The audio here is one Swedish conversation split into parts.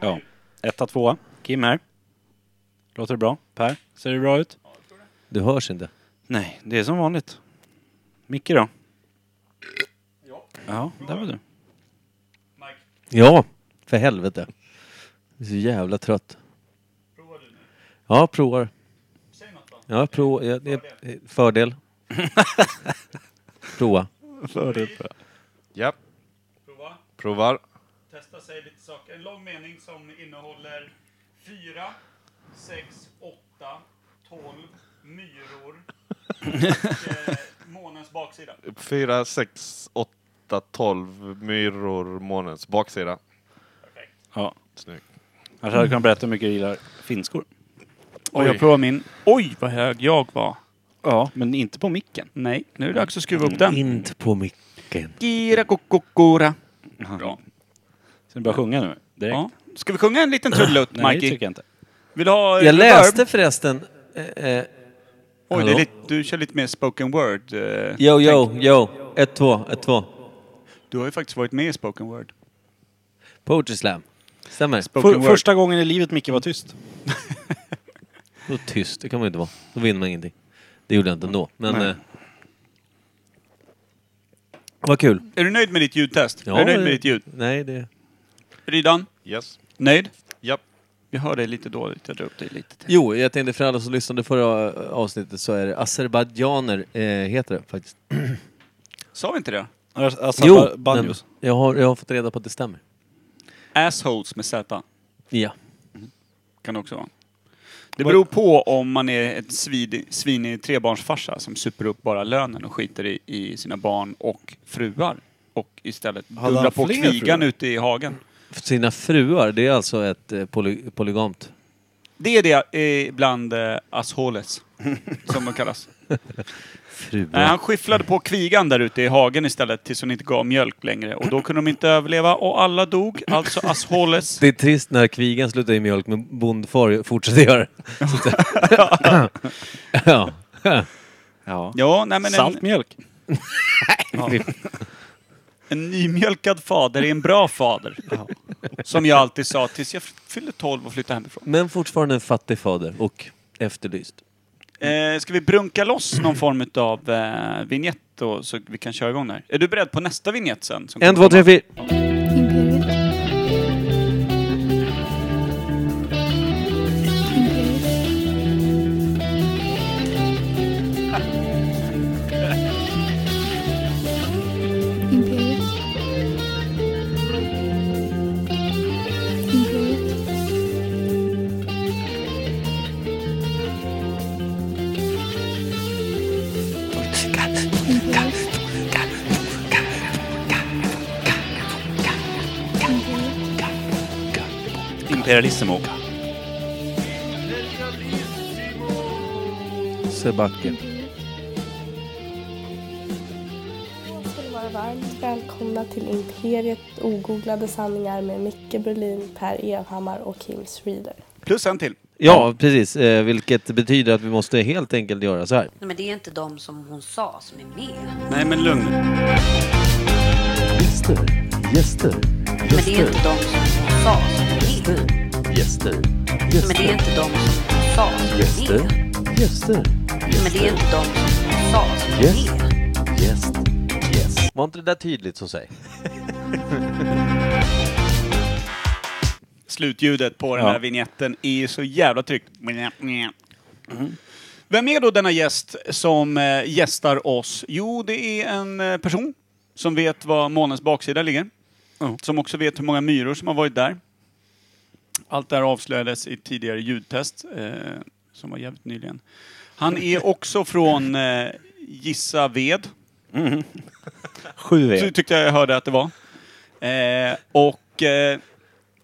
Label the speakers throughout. Speaker 1: Ja. Etta, tvåa. Kim här. Låter det bra? Per, ser det bra ut?
Speaker 2: Du hörs inte.
Speaker 1: Nej, det är som vanligt. Micke då? Ja, där var du.
Speaker 2: Ja, för helvete. Jag är så jävla trött. Ja, provar. Ja, prova. Ja, det är fördel. Prova.
Speaker 3: Ja. Provar.
Speaker 4: testa sig lite saker. En lång mening som innehåller 4, 6, 8, 12 myror och eh, månens baksida.
Speaker 3: 4, 6, 8, 12 myror, månens baksida.
Speaker 1: Ja.
Speaker 3: Snyggt.
Speaker 1: Annars hade jag kunnat berätta hur mycket jag gillar finskor. Och
Speaker 4: Oj.
Speaker 1: jag provar min.
Speaker 4: Oj, vad hög jag var.
Speaker 1: Ja, men inte på micken.
Speaker 4: Nej, nu är det dags att skruva upp den.
Speaker 2: Inte på micken.
Speaker 4: Gira kokokora.
Speaker 1: Bra. Mm. Ska du börja sjunga nu? Direkt?
Speaker 4: Ja. Ska vi sjunga en liten trudelutt,
Speaker 1: Nej, det
Speaker 4: Mikey?
Speaker 1: tycker jag inte.
Speaker 4: Vill du ha eh,
Speaker 2: Jag
Speaker 4: reverb?
Speaker 2: läste förresten... eh,
Speaker 4: Oj,
Speaker 2: eh,
Speaker 4: det är
Speaker 2: Hallå?
Speaker 4: lite, du kör lite mer spoken word. eh,
Speaker 2: Yo, yo,
Speaker 4: tänk.
Speaker 2: yo. Ett, två, ett, två.
Speaker 4: Du har ju faktiskt varit med i spoken word.
Speaker 2: Poetry slam. Stämmer.
Speaker 4: Spoken
Speaker 1: För,
Speaker 4: word.
Speaker 1: första gången i livet Micke var tyst.
Speaker 2: Då tyst, det kan man ju inte vara. Då vinner man ingenting. Det gjorde jag inte ändå, men...
Speaker 1: Nej.
Speaker 2: Eh, vad kul.
Speaker 4: Är du nöjd med ditt ljudtest? är du nöjd med ditt ljud?
Speaker 2: Nej, det...
Speaker 4: Rydan,
Speaker 3: Yes.
Speaker 4: nöjd?
Speaker 3: Japp.
Speaker 4: Vi hör dig lite dåligt, jag drar upp dig lite. till.
Speaker 2: Jo, jag tänkte för alla som lyssnade förra avsnittet så är det azerbajdzjaner, eh, heter det faktiskt.
Speaker 4: Sa vi inte det?
Speaker 1: Alltså,
Speaker 2: men
Speaker 1: banjos.
Speaker 2: jag har, jag har fått reda på att det stämmer.
Speaker 4: Assholes med Z
Speaker 2: Ja.
Speaker 4: kan det också vara. Det beror på om man är ett svid, svinig trebarnsfarsa som super upp bara lönen och skiter i, i sina barn och fruar. Och istället
Speaker 1: Hade
Speaker 4: dundrar
Speaker 1: han
Speaker 4: på
Speaker 1: fler
Speaker 4: kvigan
Speaker 1: fruar?
Speaker 4: ute i hagen.
Speaker 2: Sina fruar, det är alltså ett eh, poly, polygamt.
Speaker 4: Det är det eh, bland eh, assholes, som de kallas. Nej,
Speaker 2: Fruar.
Speaker 4: han skyfflade på kvigan där ute i hagen istället tills hon inte gav mjölk längre. Och då kunde de inte överleva och alla dog, alltså assholes.
Speaker 2: Det är trist när kvigan slutar i mjölk men bondfar fortsätter göra det. Så att- ja.
Speaker 1: Ja.
Speaker 4: Ja, nej men en,
Speaker 1: Saltmjölk.
Speaker 4: En nymjölkad fader är en bra fader. Som jag alltid sa tills jag fyllde 12 och flyttade hemifrån.
Speaker 2: Men fortfarande en fattig fader och efterlyst.
Speaker 4: Eh, ska vi brunka loss någon form av eh, vignett då, så vi kan köra igång där? Är du beredd på nästa vignett sen? som
Speaker 2: En,
Speaker 4: kommer
Speaker 2: två, tre,
Speaker 4: komma?
Speaker 2: fyra.
Speaker 5: Imperiet. Imperiet. Imperiet. Imperiet. Imperiet. Imperiet.
Speaker 1: Imperialissimo.
Speaker 2: Sebacke.
Speaker 6: skulle vara varmt välkomna till Imperiet ogooglade sanningar med Micke Berlin, Per Evhammar och Kim Schreeder.
Speaker 4: Plus en till.
Speaker 2: Ja, precis. Eh, vilket betyder att vi måste helt enkelt göra så här.
Speaker 7: Nej, men det är inte de som hon sa som är med.
Speaker 4: Nej men lugn
Speaker 8: Gäster, gäster,
Speaker 7: Nej, men det är inte de som hon sa som är med.
Speaker 8: gäster,
Speaker 7: Nej, men det är inte de som hon sa som är med. Nej,
Speaker 8: gäster,
Speaker 7: men det är inte de som hon sa som är med.
Speaker 8: gäst, gäst.
Speaker 2: Var inte det där tydligt så säg?
Speaker 4: Slutljudet på den
Speaker 1: Ja.
Speaker 4: här vignetten är ju så jävla tryggt. Vem är då denna gäst som eh, gästar oss? Jo, det är en eh, person som vet var månens baksida ligger. Som också vet hur många myror som har varit där. Allt det här avslöjades i ett tidigare ljudtest eh, som var jävligt nyligen. Han är också från eh, Gissa ved.
Speaker 1: Sju
Speaker 4: Så
Speaker 1: V.
Speaker 4: tyckte jag jag hörde att det var. Eh, och eh,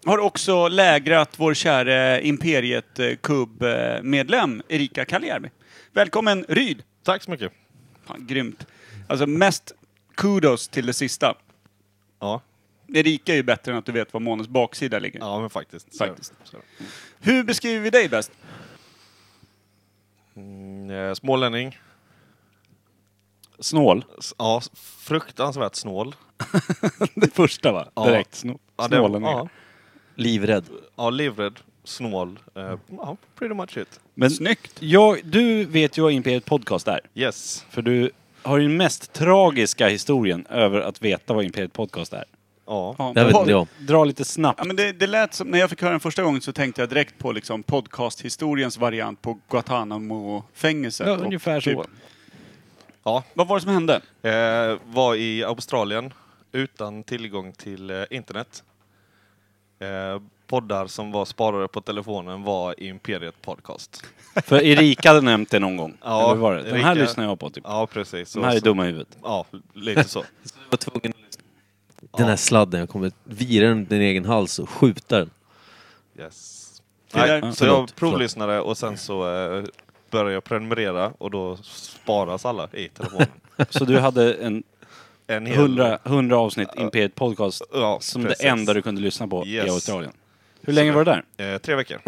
Speaker 4: har också lägrat vår käre Imperiet-kubb-medlem Erika Kaljärvi. Välkommen Ryd!
Speaker 3: Tack så mycket.
Speaker 4: Fan, grymt. Alltså mest kudos till det sista.
Speaker 3: Ja,
Speaker 4: Erika är ju bättre än att du vet var månens baksida ligger.
Speaker 3: ja men faktiskt. Så-
Speaker 4: Faktiskt.
Speaker 3: så.
Speaker 4: Hur beskriver vi dig bäst?
Speaker 3: Mm, eh, Smålänning.
Speaker 1: Snål.
Speaker 3: S- Ja, s- fruktansvärt snål.
Speaker 1: Det första va?
Speaker 3: Ja.
Speaker 1: Direkt. Snå-
Speaker 3: Ja, det-
Speaker 1: Snålen.
Speaker 3: ja.
Speaker 2: Livrädd.
Speaker 3: Ja, livrädd, snål. eh, Ja, pretty much it.
Speaker 1: Men
Speaker 4: Snyggt!
Speaker 1: jag, du vet ju vad Imperiet Podcast är.
Speaker 3: Yes.
Speaker 1: För du har ju den mest tragiska historien över att veta vad Imperiet Podcast är.
Speaker 3: Ja.
Speaker 4: Ja,
Speaker 2: Det här vet inte jag.
Speaker 1: Dra lite snabbt.
Speaker 4: Ja, men det, det lät som, när jag fick höra den första gången så tänkte jag direkt på liksom podcasthistoriens variant på Guantanamo-fängelset.
Speaker 1: Ja,
Speaker 4: och typ
Speaker 1: ungefär så.
Speaker 3: ja.
Speaker 4: Vad var det som hände?
Speaker 3: Eh, var i Australien utan tillgång till eh, internet. Eh, poddar som var sparade på telefonen var i Imperiet Podcast.
Speaker 1: För Erika hade nämnt det någon gång.
Speaker 3: Ja,
Speaker 1: Eller hur var det? Den här
Speaker 3: Erika-
Speaker 1: lyssnar jag på typ.
Speaker 3: Ja, precis.
Speaker 1: De
Speaker 3: Och
Speaker 1: här är
Speaker 3: så-
Speaker 1: dumma i huvudet.
Speaker 3: Ja, lite så.
Speaker 2: Jag var tvungen att lyssna. Den här sladden, jag kommer vira den i din egen hals och skjuta den.
Speaker 3: Yes.
Speaker 4: Det där-
Speaker 3: Nej, så
Speaker 2: Förlåt,
Speaker 3: jag provlyssnade och sen så eh, började jag prenumerera och då sparas alla i telefonen.
Speaker 1: Så du hade en
Speaker 3: En hel...
Speaker 1: 100, 100 avsnitt Imperiet Podcast
Speaker 3: Ja,
Speaker 1: som
Speaker 3: precis.
Speaker 1: det enda du kunde lyssna på i
Speaker 3: Yes.
Speaker 1: Australien. Hur länge var du där?
Speaker 3: Eh, tre veckor.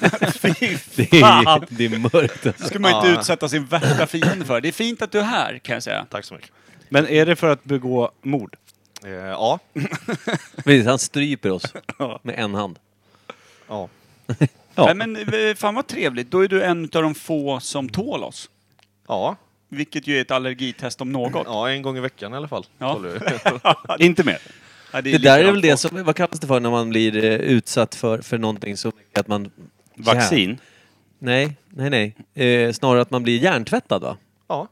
Speaker 2: Det är, det är mörkt
Speaker 4: Det
Speaker 2: alltså.
Speaker 4: ska man inte
Speaker 3: Ja.
Speaker 4: utsätta sin värsta fiende för. Det är fint att du är här, kan jag säga.
Speaker 3: Tack så mycket.
Speaker 1: Men är det för att begå mord?
Speaker 3: Eh, ja.
Speaker 2: Precis, han stryper oss med en hand.
Speaker 3: ja.
Speaker 2: Ja.
Speaker 4: Nej, men eh, fan vad trevligt. Då är du en av de få som tål oss.
Speaker 3: Ja.
Speaker 4: Vilket ju är ett allergitest om något.
Speaker 3: Ja, en gång i veckan i alla fall.
Speaker 4: Ja.
Speaker 3: Håller jag.
Speaker 1: Inte mer?
Speaker 4: Ja,
Speaker 2: Det där är väl det
Speaker 4: likadant.
Speaker 2: som, vad kallas det för när man blir eh, utsatt för, för någonting så mycket att man...
Speaker 1: Vaccin?
Speaker 2: Nej, nej, nej. Eh, snarare att man blir hjärntvättad va?
Speaker 3: Ja.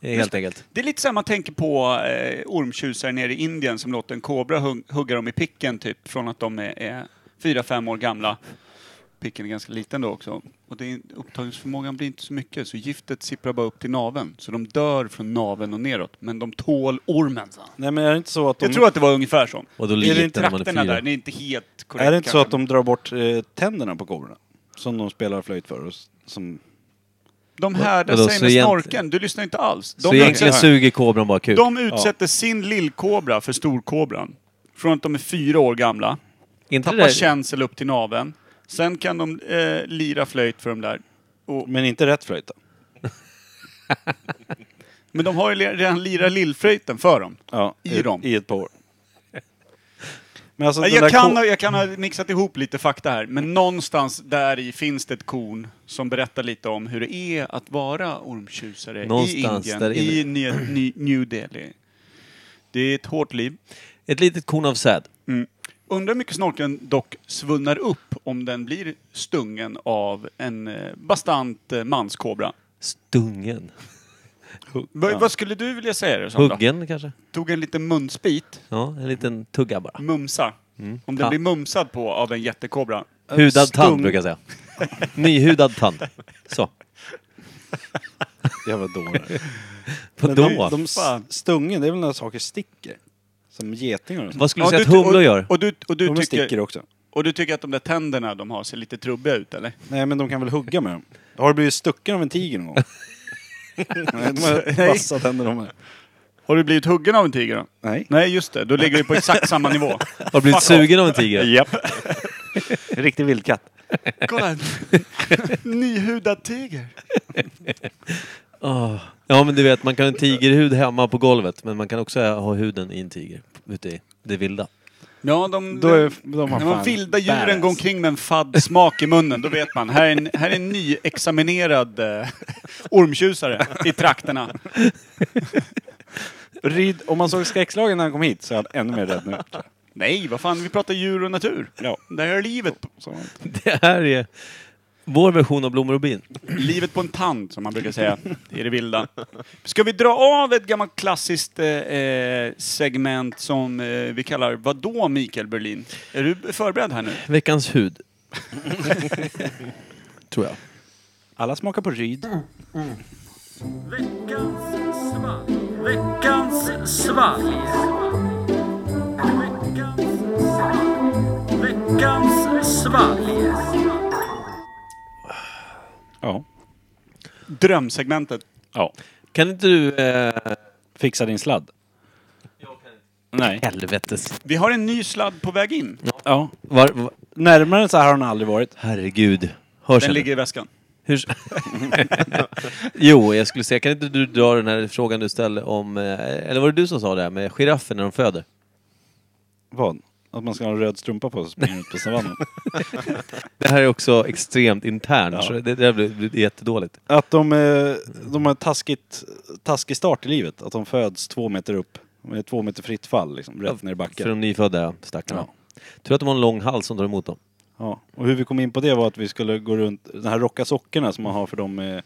Speaker 2: Eh, Helt enkelt.
Speaker 4: Det är lite samma tänker på eh, ormtjusare nere i Indien som låter en kobra hug- hugga dem i picken typ från att de är, är fyra, fem år gamla. Picken är ganska liten då också. Och det är, upptagningsförmågan blir inte så mycket så giftet sipprar bara upp till naven. Så de dör från naven och neråt. Men de tål ormen. sa han.
Speaker 1: Nej men är det inte så att de...
Speaker 4: Jag tror att det var ungefär så.
Speaker 2: Och då
Speaker 4: är det
Speaker 2: liten
Speaker 4: i
Speaker 2: när man är
Speaker 4: trakterna
Speaker 2: fyra.
Speaker 4: där? Det är inte helt korrekt.
Speaker 1: Är det inte så
Speaker 4: kanske.
Speaker 1: att de drar bort eh, tänderna på korna? Som de spelar flöjt för och s- som...
Speaker 4: De härdar
Speaker 2: Vadå,
Speaker 4: sig
Speaker 2: så
Speaker 4: med
Speaker 2: egent-
Speaker 4: snorken. Du lyssnar inte alls.
Speaker 2: Så
Speaker 4: De,
Speaker 2: egentligen
Speaker 4: utsätter,
Speaker 2: suger kobran bara kuk.
Speaker 4: de utsätter sin lillkobra för storkobran. Från att de är fyra år gamla.
Speaker 2: Inte det
Speaker 4: Tappar
Speaker 2: där,
Speaker 4: känsel upp till naveln. Sen kan de eh, lira flöjt för de där. Och,
Speaker 1: Men inte rätt flöjt då?
Speaker 4: men de har ju le- redan lirat lillflöjten för dem.
Speaker 1: Ja,
Speaker 4: I dem.
Speaker 1: I ett par år. Men alltså
Speaker 4: Nej,
Speaker 1: den
Speaker 4: Jag
Speaker 1: där
Speaker 4: kan,
Speaker 1: ko-
Speaker 4: ha- jag kan ha mixat ihop lite fakta här, men någonstans där i finns det ett korn som berättar lite om hur det är att vara ormtjusare
Speaker 2: Någonstans
Speaker 4: i
Speaker 2: där
Speaker 4: Indien, i
Speaker 2: inne.
Speaker 4: New, New, New Delhi. Det är ett hårt liv.
Speaker 2: ett litet korn av säd.
Speaker 4: Undrar hur mycket snorken dock svunnar upp om den blir stungen av en eh, bastant eh, manskobra.
Speaker 2: Stungen.
Speaker 4: Vad- Vad skulle du vilja säga det som då?
Speaker 2: Huggen kanske?
Speaker 4: Tog en liten munsbit,
Speaker 2: Ja, en liten tugga bara.
Speaker 4: mumsa. Om den
Speaker 2: Mm. Ja.
Speaker 4: blir mumsad på av en jättekobra.
Speaker 2: Hudad
Speaker 1: Stung.
Speaker 2: tand brukar jag säga. Nyhudad tand. Så.
Speaker 1: Jävla dåre. Men
Speaker 2: Vadå?
Speaker 1: de, de s-
Speaker 4: Fan.
Speaker 1: stungen, det är väl när saker sticker? Som getingar och sånt.
Speaker 2: Vad skulle du
Speaker 4: Ja,
Speaker 2: säga att
Speaker 4: ty-
Speaker 2: humlor
Speaker 4: och-
Speaker 2: gör?
Speaker 4: Och du, och, du
Speaker 1: De sticker
Speaker 4: tycker,
Speaker 1: också.
Speaker 4: och du tycker att de där tänderna de har ser lite trubbiga ut eller?
Speaker 1: Nej men de kan väl hugga med dem? Har du blivit stucken av en tiger någon gång? Nej, de har
Speaker 4: Nej.
Speaker 1: vassa tänder de här.
Speaker 4: Har du blivit huggen av en tiger då?
Speaker 1: Nej.
Speaker 4: Nej just det, då ligger vi på exakt samma nivå.
Speaker 2: Har du blivit
Speaker 4: Fuck off.
Speaker 2: sugen av en tiger?
Speaker 1: Japp. Riktig vildkatt.
Speaker 4: Kolla här. Nyhudad tiger.
Speaker 2: Åh. Ja, men du vet, man kan ha en tigerhud hemma på golvet, men man kan också ha huden i en tiger ute i det vilda.
Speaker 4: Ja, de,
Speaker 1: Då är de har
Speaker 4: när de
Speaker 1: fan
Speaker 4: vilda djuren
Speaker 1: badass.
Speaker 4: går omkring med en fadd smak i munnen, då vet man. Här är en, här är en nyexaminerad eh, ormtjusare i trakterna.
Speaker 1: Ryd, om man såg skräckslagen när han kom hit så är han ännu mer rädd nu.
Speaker 4: Nej, vad fan, vi pratar djur och natur.
Speaker 1: Ja.
Speaker 4: Det här är livet. på-
Speaker 1: Så.
Speaker 2: Det här är vår version av Blommor och bin.
Speaker 4: Livet på en tand, som man brukar säga i det vilda. Ska vi dra av ett gammalt klassiskt eh, eh, segment som eh, vi kallar Vadå Mikael Berlin? Är du förberedd här nu?
Speaker 2: Veckans hud. Tror jag.
Speaker 1: Alla smakar på ryd. Ja.
Speaker 4: Drömsegmentet.
Speaker 1: ja.
Speaker 2: Kan inte du... Eh,
Speaker 1: Fixa din sladd. Nej.
Speaker 2: helvetes...
Speaker 4: Vi har en ny sladd på väg in.
Speaker 1: Ja.
Speaker 2: Var, var,
Speaker 1: Närmare så här har han aldrig varit.
Speaker 2: herregud. Hörs
Speaker 4: Den
Speaker 2: jag nu?
Speaker 4: ligger i väskan.
Speaker 2: Hur... jo, jag skulle säga, kan inte du dra den här frågan du ställde om... eh, Eller var det du som sa det här med giraffen när de föder?
Speaker 1: Vad? Att man ska ha en röd strumpa på sig och springa ut på savannen.
Speaker 2: Det här är också extremt internt, så det, det där blir, blir jättedåligt.
Speaker 1: Att de, eh, de har taskigt, taskig start i livet. Att de föds två meter upp. Med två meter fritt fall liksom, rätt ner i
Speaker 2: För
Speaker 1: backen.
Speaker 2: de nyfödda ja, stackarna.
Speaker 1: Ja.
Speaker 2: Tror att de har en lång hals som tar emot dem.
Speaker 1: Ja. Och hur vi kom in på det var att vi skulle gå runt, de här rocka sockorna som man har för de eh,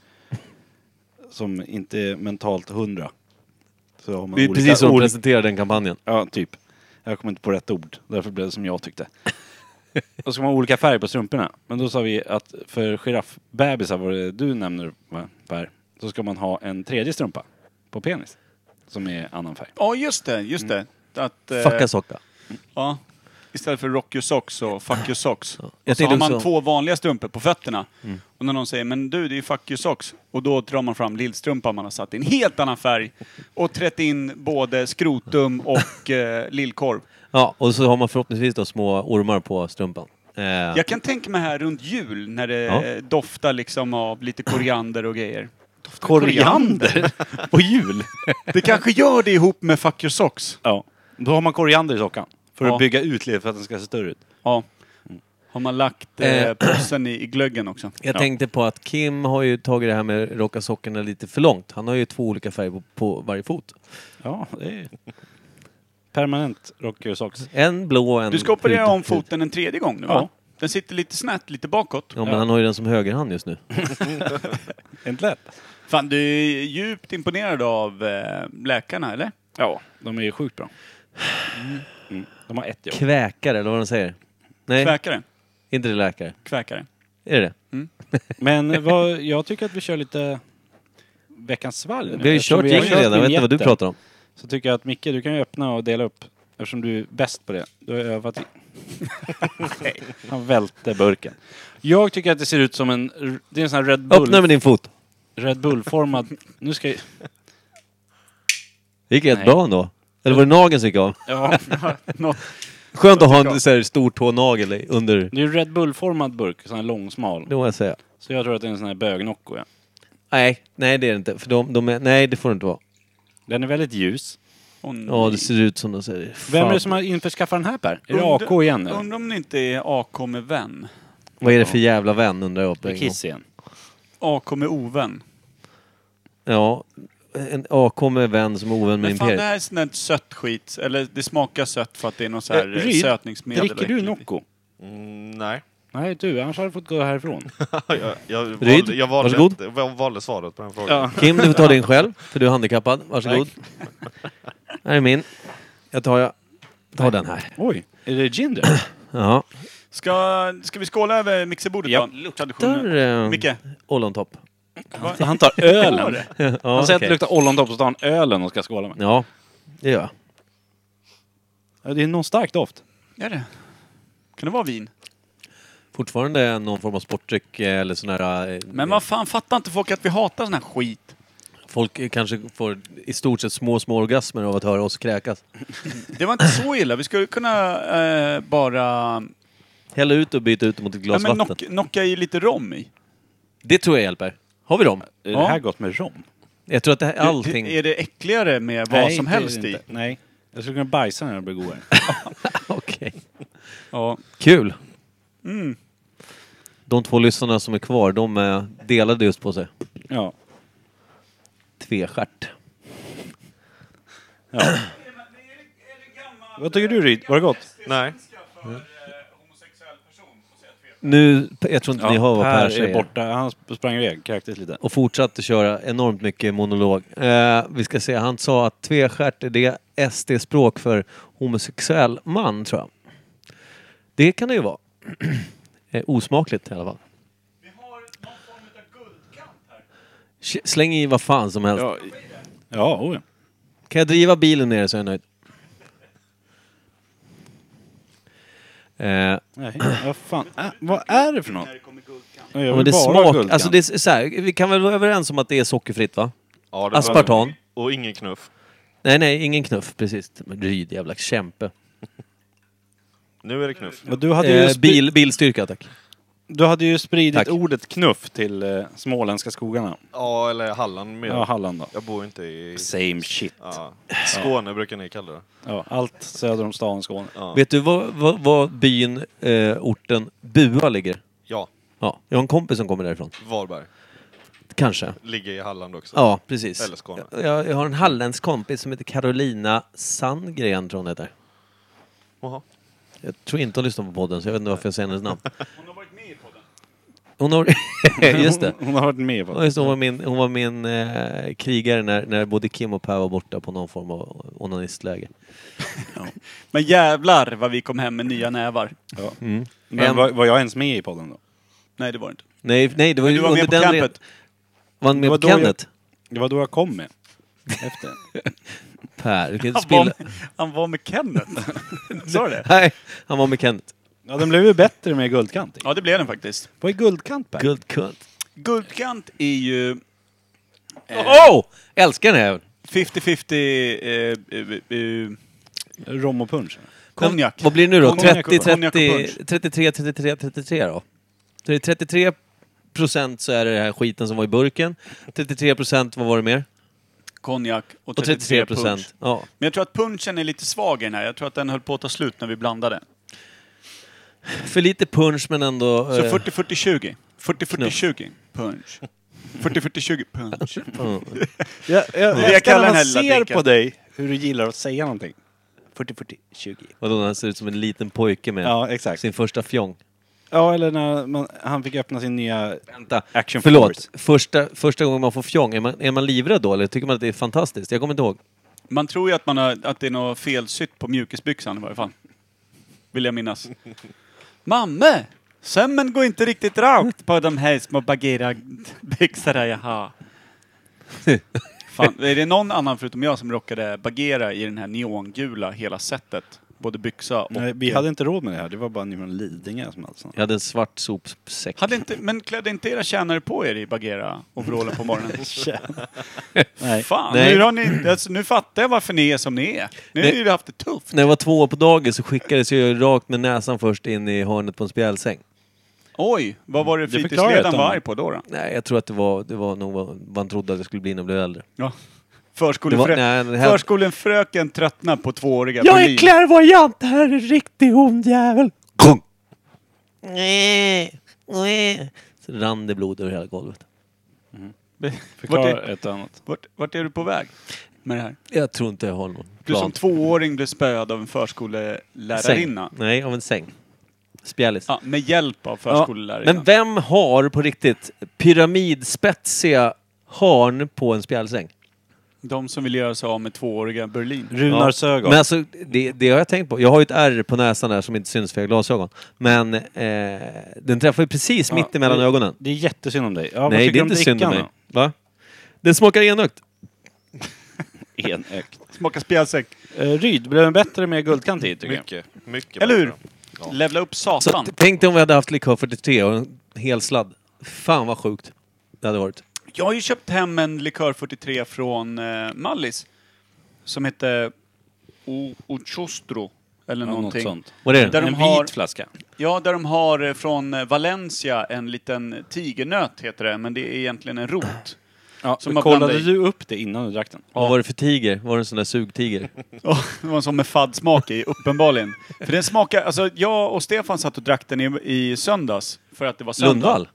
Speaker 1: som inte är mentalt hundra. Så har man
Speaker 2: Det är
Speaker 1: olika-
Speaker 2: precis som de
Speaker 1: olika-
Speaker 2: presenterar den kampanjen.
Speaker 1: Ja, typ. Jag kom inte på rätt ord, därför blev det som jag tyckte. Och så ska man ha olika färg på strumporna. Men då sa vi att för giraffbebisar, vad det du nämner va, Per, så ska man ha en tredje strumpa på penis. Som är annan färg.
Speaker 4: Ja, just det, just det. Att, eh,
Speaker 2: Fucka socka.
Speaker 4: ja. Istället för rock your socks så fuck your socks.
Speaker 2: Jag Mm.
Speaker 4: Och så har
Speaker 2: tänkte
Speaker 4: man
Speaker 2: också-
Speaker 4: två vanliga strumpor på fötterna. Och när någon säger men du, det är ju fuck your socks. Och då drar man fram lillstrumpan man har satt i en helt annan färg. Och trätt in både skrotum och eh, lillkorv.
Speaker 2: Ja, och så har man förhoppningsvis då små ormar på strumpan. Eh,
Speaker 4: Jag kan tänka mig här runt jul när det
Speaker 2: Ja.
Speaker 4: eh, doftar liksom av lite koriander och grejer.
Speaker 1: Koriander? på jul?
Speaker 4: Det kanske gör det ihop med fuck your socks.
Speaker 1: Ja. Då har man koriander i sockan. För
Speaker 4: Ja.
Speaker 1: att bygga ut led för att den ska se större ut.
Speaker 4: Ja. Har man lagt eh,
Speaker 2: Eh.
Speaker 4: påsen i, i glöggen också?
Speaker 2: Jag tänkte på att Kim har ju tagit det här med rocka sockorna lite för långt. Han har ju två olika färger på, på varje fot.
Speaker 1: Ja, det är Permanent rock your socks.
Speaker 2: En blå och en
Speaker 4: Du ska operera
Speaker 2: hud-
Speaker 4: om
Speaker 2: hud.
Speaker 4: foten en tredje gång nu va? Den sitter lite snett, lite bakåt.
Speaker 2: Ja, men han har ju den som högerhand just nu.
Speaker 1: Inte lätt.
Speaker 4: Fan, du är djupt imponerad av eh, läkarna, eller?
Speaker 1: Ja, de är ju sjukt bra. Mm. De har ett jobb.
Speaker 2: Kväkare, eller vad de säger. Nej,
Speaker 4: Kväkare.
Speaker 2: inte det läkare.
Speaker 4: Kväkare.
Speaker 2: Är det det?
Speaker 1: Men vad, jag tycker att vi kör lite veckans svalg. nu.
Speaker 2: Vi har ju
Speaker 1: Eftersom
Speaker 2: kört
Speaker 1: har
Speaker 2: gäng
Speaker 1: kört
Speaker 2: redan, jag vet inte vad du
Speaker 1: vignetter,
Speaker 2: pratar om.
Speaker 1: Så tycker jag att Micke, du kan ju öppna och dela upp. Eftersom du är bäst på det. Du har övat i... Han välte burken. Jag tycker att det ser ut som en... r- Det är en sån här Red Bull...
Speaker 2: Öppna med din fot.
Speaker 1: Red Bull-formad... Nu ska jag...
Speaker 2: Det gick rätt
Speaker 1: Nej.
Speaker 2: bra ändå. Eller var det nageln som gick av?
Speaker 1: Ja,
Speaker 4: Nå-
Speaker 2: Skönt att ha en så här stor tånagel i- under.
Speaker 1: det är en Red Bull-formad burk. Sån här långsmal.
Speaker 2: Det må jag säga.
Speaker 1: Så jag tror att det är en sån här bögnocco. Ja.
Speaker 2: Nej, nej det är det inte. För de, de är, nej, det får det inte vara.
Speaker 1: Den är väldigt ljus.
Speaker 4: Åh, nej.
Speaker 2: Ja, det ser ut som de säger. Fan.
Speaker 1: Vem är det som har införskaffat den här Per? Är det
Speaker 4: Und-
Speaker 1: AK igen eller?
Speaker 4: Undrar om det inte är AK med vän.
Speaker 2: Vad är det för jävla vän undrar jag på
Speaker 1: Det är
Speaker 2: en gång.
Speaker 1: Kiss igen.
Speaker 4: AK med ovän.
Speaker 2: Ja, en AK med vän som är ovän med
Speaker 4: Men fan, det
Speaker 2: imperiet.
Speaker 4: här är sånt där sött skit. Eller det smakar sött för att det är någon så här
Speaker 1: Eh,
Speaker 4: eh,
Speaker 1: Ryd,
Speaker 4: sötningsmedel.
Speaker 1: Dricker du Nocco?
Speaker 3: Mm, nej.
Speaker 1: Nej du, annars hade du fått gå härifrån.
Speaker 3: Jag, jag,
Speaker 2: Ryd,
Speaker 3: valde, jag, valde,
Speaker 2: varsågod.
Speaker 3: jag valde svaret på den frågan.
Speaker 2: Kim, du får ta din själv, för du är handikappad. Varsågod. Här är min. Jag tar, jag tar den här.
Speaker 1: Oj, är det gin där?
Speaker 2: Ja.
Speaker 4: Ska, ska vi skåla över mixerbordet
Speaker 1: Ja.
Speaker 4: då? Traditionen.
Speaker 2: Där, eh,
Speaker 4: Micke?
Speaker 2: Ollontopp.
Speaker 1: Han tar ölen.
Speaker 2: Ja,
Speaker 1: Han säger att det
Speaker 2: okej.
Speaker 1: luktar ollontopp så tar han ölen och ska skåla med.
Speaker 2: Ja, det gör jag.
Speaker 1: Ja, det är någon stark doft.
Speaker 4: Är det? Kan det vara vin?
Speaker 2: Fortfarande någon form av sportdryck eh, eller sån här... eh,
Speaker 4: Men vad fan, fattar inte folk att vi hatar sån här skit?
Speaker 2: Folk eh, kanske får i stort sett små, små orgasmer av att höra oss kräkas.
Speaker 4: Det var inte så illa. Vi skulle kunna eh, bara...
Speaker 2: Hälla ut och byta ut mot ett
Speaker 4: Ja,
Speaker 2: glas
Speaker 4: men
Speaker 2: vatten.
Speaker 4: knock, knocka i lite rom i.
Speaker 2: Det tror jag hjälper. Har vi dem?
Speaker 1: Är
Speaker 4: Ja.
Speaker 1: det här gott med rom?
Speaker 2: Jag tror att det här, allting...
Speaker 4: Är det äckligare med vad
Speaker 1: Nej,
Speaker 4: som
Speaker 1: det är det
Speaker 4: helst i?
Speaker 1: inte. Nej. Jag skulle kunna bajsa när den blir godare.
Speaker 2: Okej.
Speaker 4: Ja.
Speaker 2: Kul! De två lyssnarna som är kvar, de eh, delade just på sig.
Speaker 1: Ja.
Speaker 2: Tvestjärt.
Speaker 1: Vad tycker du Ryd? Var det gott?
Speaker 3: Nej.
Speaker 2: Nu, jag tror inte ni hör vad Per
Speaker 1: är
Speaker 2: säger.
Speaker 1: borta. Han sp- sprang iväg kräktes lite.
Speaker 2: Och fortsatte köra enormt mycket monolog. Eh, vi ska se, han sa att tvestjärt är det SD-språk för homosexuell man, tror jag. Det kan det ju vara. Eh, Osmakligt i alla fall. Sh- Släng i vad fan som helst.
Speaker 1: Ja, ja, oh, ja.
Speaker 2: Kan jag driva bilen ner så är jag nöjd. Eh,
Speaker 1: Nej, vad fan. Äh, vad är det för något? Ja,
Speaker 2: ja,
Speaker 1: Jag vill
Speaker 2: men det
Speaker 1: bara ha
Speaker 2: smakar...
Speaker 1: guldkant.
Speaker 2: Alltså det är så här, vi kan väl vara överens om att det är sockerfritt va?
Speaker 3: Ja, det-
Speaker 2: Aspartan.
Speaker 3: Och ingen knuff.
Speaker 2: Nej, nej, ingen knuff. Precis. Men Ryd, jävla kämpe.
Speaker 3: Nu är det knuff.
Speaker 1: Och du hade ju
Speaker 2: Eh,
Speaker 1: spe-
Speaker 2: bil, bilstyrka, tack.
Speaker 1: Du hade ju spridit
Speaker 2: Tack.
Speaker 1: ordet knuff till eh, småländska skogarna.
Speaker 3: Ja, eller Halland mer.
Speaker 1: Ja, Halland då.
Speaker 3: Jag bor inte i...
Speaker 1: Same shit.
Speaker 3: Ja. Skåne brukar ni kalla det.
Speaker 1: Ja, allt söder om staden Skåne.
Speaker 3: Ja.
Speaker 2: Vet du var, var, var byn, eh, orten Bua ligger?
Speaker 3: ja,
Speaker 2: Ja, jag har en kompis som kommer därifrån.
Speaker 3: Varberg.
Speaker 2: Kanske.
Speaker 3: Ligger i Halland också.
Speaker 2: Ja, precis.
Speaker 3: Eller Skåne.
Speaker 2: Jag, jag har en halländsk kompis som heter Carolina Sandgren, tror hon heter.
Speaker 3: Jaha.
Speaker 2: Jag tror inte hon lyssnar på podden, så jag vet inte varför jag säger hennes namn.
Speaker 4: Hon har varit med i podden.
Speaker 2: Hon har... Just det.
Speaker 1: Hon, hon har varit med på
Speaker 2: Ja,
Speaker 1: det.
Speaker 2: just det, Hon var min, hon var min eh, krigare när, när både Kim och Per var borta på någon form av onanistläge.
Speaker 4: Men jävlar vad vi kom hem med nya nävar.
Speaker 1: Ja.
Speaker 2: Mm.
Speaker 1: Men
Speaker 2: En-
Speaker 1: var, var jag ens med i podden då?
Speaker 4: Nej, det var det inte.
Speaker 2: Nej, nej, det var
Speaker 4: Men du
Speaker 2: ju
Speaker 4: var
Speaker 2: under
Speaker 4: med på
Speaker 2: den
Speaker 4: campet.
Speaker 2: Var han med
Speaker 1: Det var
Speaker 2: på
Speaker 1: då jag-
Speaker 2: Kennet?
Speaker 1: Det var då jag kom med. Efter.
Speaker 2: Per, du kan inte
Speaker 4: Han var,
Speaker 2: spilla...
Speaker 4: med, han var med Kenneth. Sa du det?
Speaker 2: Nej, han var med Kennet.
Speaker 1: Ja, den blev ju bättre med guldkant i.
Speaker 4: Ja, det blev den faktiskt.
Speaker 1: Vad är guldkant Per?
Speaker 2: Good cunt.
Speaker 4: Guldkant är ju Eh.
Speaker 2: Oh! Älskar den här jäveln.
Speaker 4: 50-50 eh, eh, eh,
Speaker 1: Rom och punch.
Speaker 4: konjak.
Speaker 2: Men Vad blir det nu då?
Speaker 4: Konjak och-
Speaker 2: 30,
Speaker 4: konjak och
Speaker 2: 30,
Speaker 4: punch.
Speaker 2: 33, 33, 33 då? Så det är 33 procent så är det den här skiten som var i burken. 33 procent, vad var det mer?
Speaker 4: konjak och
Speaker 2: Och 33
Speaker 4: 33 punch.
Speaker 2: procent. Ja.
Speaker 4: Men jag tror att punchen är lite svag i den här. Jag tror att den höll på att ta slut när vi blandade.
Speaker 2: För lite punch men ändå...
Speaker 4: Så
Speaker 2: eh,
Speaker 4: 40-40-20.
Speaker 2: Knuff.
Speaker 4: 40-40-20 punch. 40-40-20 punch.
Speaker 2: mm.
Speaker 1: Jag, jag,
Speaker 4: Jag
Speaker 1: jag
Speaker 4: kallar
Speaker 1: när
Speaker 4: den här lilla
Speaker 1: man ser
Speaker 4: drinken.
Speaker 1: på dig hur du gillar att säga någonting. 40, 40, 20.
Speaker 2: Vadå, när han ser ut som en liten pojke med
Speaker 1: Ja, exakt.
Speaker 2: sin första fjong.
Speaker 1: Ja, eller när man, han fick öppna sin nya...
Speaker 2: Vänta,
Speaker 1: Action
Speaker 2: förlåt.
Speaker 1: forward.
Speaker 2: Första, första gången man får fjong, är man, är man livrädd då eller tycker man att det är fantastiskt? Jag kommer inte ihåg.
Speaker 4: Man tror ju att, man har, att det är något felsytt på mjukisbyxan i varje fall. Vill jag minnas. Mamme! Sömmen går inte riktigt rakt på de här små bagheerabyxorna jag har. Fan, är det någon annan förutom jag som rockade bagheera i den här neongula hela sättet? Både byxa och...
Speaker 1: Nej, vi hade inte råd med det här. Det var bara ni från Lidingö som hade sånt.
Speaker 2: Jag hade en svart sopsäck.
Speaker 4: Hade inte, men klädde inte era tjänare på er i bagheera overallen på morgonen?
Speaker 1: Nej.
Speaker 4: Fan,
Speaker 2: Nej.
Speaker 4: Nu, har ni, alltså, nu fattar jag varför ni är som ni är. Nu har
Speaker 2: Nej.
Speaker 4: ni haft det tufft.
Speaker 2: När jag var två år på dagis så skickades jag rakt med näsan först in i hörnet på en spjälsäng.
Speaker 4: Oj, vad var det
Speaker 1: Det förklarar ju att
Speaker 4: fritidsledaren
Speaker 1: de-
Speaker 4: var arg på då? då?
Speaker 2: Nej, jag tror att det var, det var nog vad man trodde att jag skulle bli när jag blev äldre.
Speaker 4: Ja.
Speaker 2: Det
Speaker 4: Förskolefrö...
Speaker 2: var- nej, det här-
Speaker 4: Förskolefröken tröttnar på tvååriga
Speaker 2: Jag
Speaker 4: Berlin.
Speaker 2: är klärvoajant! Det här är en riktig ond jävel! Kung! Så rann det blod över hela golvet.
Speaker 4: Vart
Speaker 1: Förklara
Speaker 4: är,
Speaker 1: ett och annat.
Speaker 4: vart, vart är du på väg med det här?
Speaker 2: Jag tror inte jag har någon
Speaker 4: Du som
Speaker 2: plan.
Speaker 4: tvååring blev spöad av en förskollärarinna.
Speaker 2: Säng. Nej, av en säng. Spjällis.
Speaker 4: Ja, med hjälp av förskollärarinnan.
Speaker 2: Men vem har på riktigt pyramidspetsiga hörn på en spjälsäng?
Speaker 4: De som vill göra sig av med tvååriga Berlin.
Speaker 1: Runar Sögaard.
Speaker 2: Men alltså, det, det har jag tänkt på. Jag har ju ett ärr på näsan där som inte syns för jag har glasögon. Men eh, den träffar ju precis
Speaker 1: Ja,
Speaker 2: mitt emellan
Speaker 1: det-
Speaker 2: ögonen.
Speaker 1: Det är jättesynd om dig. Ja, vad
Speaker 2: Nej,
Speaker 1: tycker
Speaker 2: det är
Speaker 1: du om
Speaker 2: inte synd om mig.
Speaker 1: drickan
Speaker 2: Va? Den smakar enögt.
Speaker 1: då? Enögt.
Speaker 4: Smaka spjälsäck.
Speaker 1: Eh, Ryd, blev den bättre med guldkant i tycker jag?
Speaker 3: Mycket. Mycket
Speaker 4: Eller hur?
Speaker 3: bättre. Ja.
Speaker 4: Levla upp
Speaker 2: Så
Speaker 4: satan.
Speaker 2: t- tänk dig om vi hade haft likör 43 och en hel sladd. Fan vad sjukt det hade varit.
Speaker 4: Jag har ju köpt hem en likör 43 från eh, Mallis. Som heter O- Ochostro. Eller
Speaker 1: Ja, något
Speaker 4: någonting.
Speaker 1: sånt.
Speaker 2: Vad är det?
Speaker 4: Där
Speaker 1: en
Speaker 4: de har-
Speaker 1: vit flaska.
Speaker 4: Ja, där de har eh, från eh, Valencia en liten tigernöt heter det, men det är egentligen en rot.
Speaker 1: Ja,
Speaker 4: som
Speaker 1: som
Speaker 4: man
Speaker 1: kollade
Speaker 4: blandar i.
Speaker 1: du upp det innan du drack den?
Speaker 2: Vad var det för tiger? Var det en sån där sugtiger?
Speaker 4: Ja, det var en sån med faddsmak i, uppenbarligen. För den smakar, alltså jag och Stefan satt och drack den i, i söndags, för att det var söndag.
Speaker 2: Lundvall?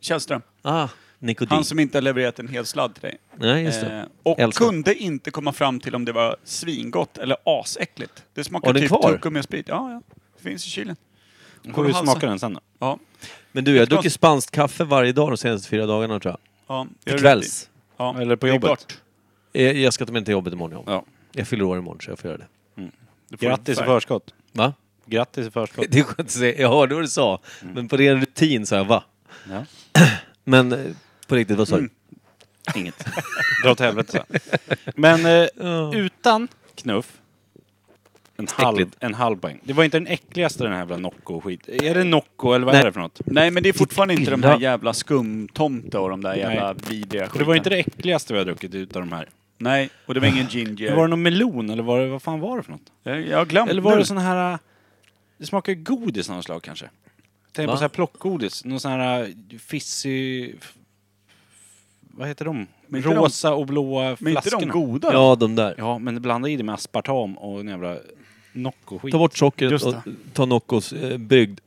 Speaker 4: Källström.
Speaker 2: Ah, Nikodin.
Speaker 4: Han som inte har levererat en hel sladd till dig.
Speaker 2: Nej, just det.
Speaker 4: Eh, och
Speaker 2: Älskar.
Speaker 4: kunde inte komma fram till om det var svingott eller asäckligt. Det
Speaker 2: Har
Speaker 4: smakar
Speaker 2: den
Speaker 4: typ
Speaker 2: kvar?
Speaker 4: tuggummi och sprit. Ja, ja. Det finns i kylen.
Speaker 1: Får
Speaker 4: Går
Speaker 1: vi
Speaker 4: att halsa.
Speaker 1: smaka den sen då?
Speaker 4: Ja.
Speaker 2: Men du, jag har
Speaker 4: Ett glas-
Speaker 2: druckit spanskt kaffe varje dag de senaste fyra dagarna tror jag.
Speaker 4: ja det
Speaker 2: Till
Speaker 4: är
Speaker 2: kvälls.
Speaker 4: rätt i. Ja.
Speaker 1: Eller på
Speaker 4: det är
Speaker 1: jobbet?
Speaker 4: klart.
Speaker 2: Eh, Jag ska ta mig till jobbet imorgon. Ja.
Speaker 1: Ja.
Speaker 2: Jag fyller år imorgon så jag får göra det.
Speaker 4: Du får
Speaker 1: Grattis i
Speaker 4: färg.
Speaker 1: förskott.
Speaker 2: Va?
Speaker 1: Grattis i förskott.
Speaker 2: Det är skönt att säga. Jag hörde vad du sa. Men på ren rutin sa jag va.
Speaker 1: Mm. Ja. Mm.
Speaker 2: Men eh, på riktigt, vad sa du?
Speaker 1: Inget. Dra åt helvete. Men eh,
Speaker 2: Ja.
Speaker 1: utan knuff. En halv,
Speaker 2: Äckligt.
Speaker 1: en halv poäng. Det var inte den äckligaste den här jävla Nocco-skit. Är det Nocco eller vad
Speaker 2: Nej.
Speaker 1: är det för något?
Speaker 4: Nej, men det är fortfarande inte de
Speaker 2: illa.
Speaker 4: här jävla skumtomta och de där jävla vidriga
Speaker 1: För
Speaker 4: skiten.
Speaker 1: det var inte det äckligaste vi har druckit utav de här.
Speaker 4: Nej, och det var ingen ginger. Eh,
Speaker 1: Var det någon melon eller var det, vad fan var det för något?
Speaker 4: Jag jag har glömt
Speaker 1: Eller var
Speaker 4: nu.
Speaker 1: det sån här... eh, Det smakar ju godis av något slag kanske. Tänk på
Speaker 2: Va?
Speaker 1: så här plockgodis. Någon sån här eh, fissig... f- Vad heter de?
Speaker 4: Men inte
Speaker 1: Rosa och blåa
Speaker 4: Men inte de
Speaker 1: flaskorna.
Speaker 4: goda då?
Speaker 2: Ja, de där.
Speaker 1: ja, men blanda i det med aspartam och en jävla Nocco-skit.
Speaker 2: Ta bort sockret
Speaker 4: Just
Speaker 2: och
Speaker 4: det.
Speaker 2: ta Noccos eh, brygd.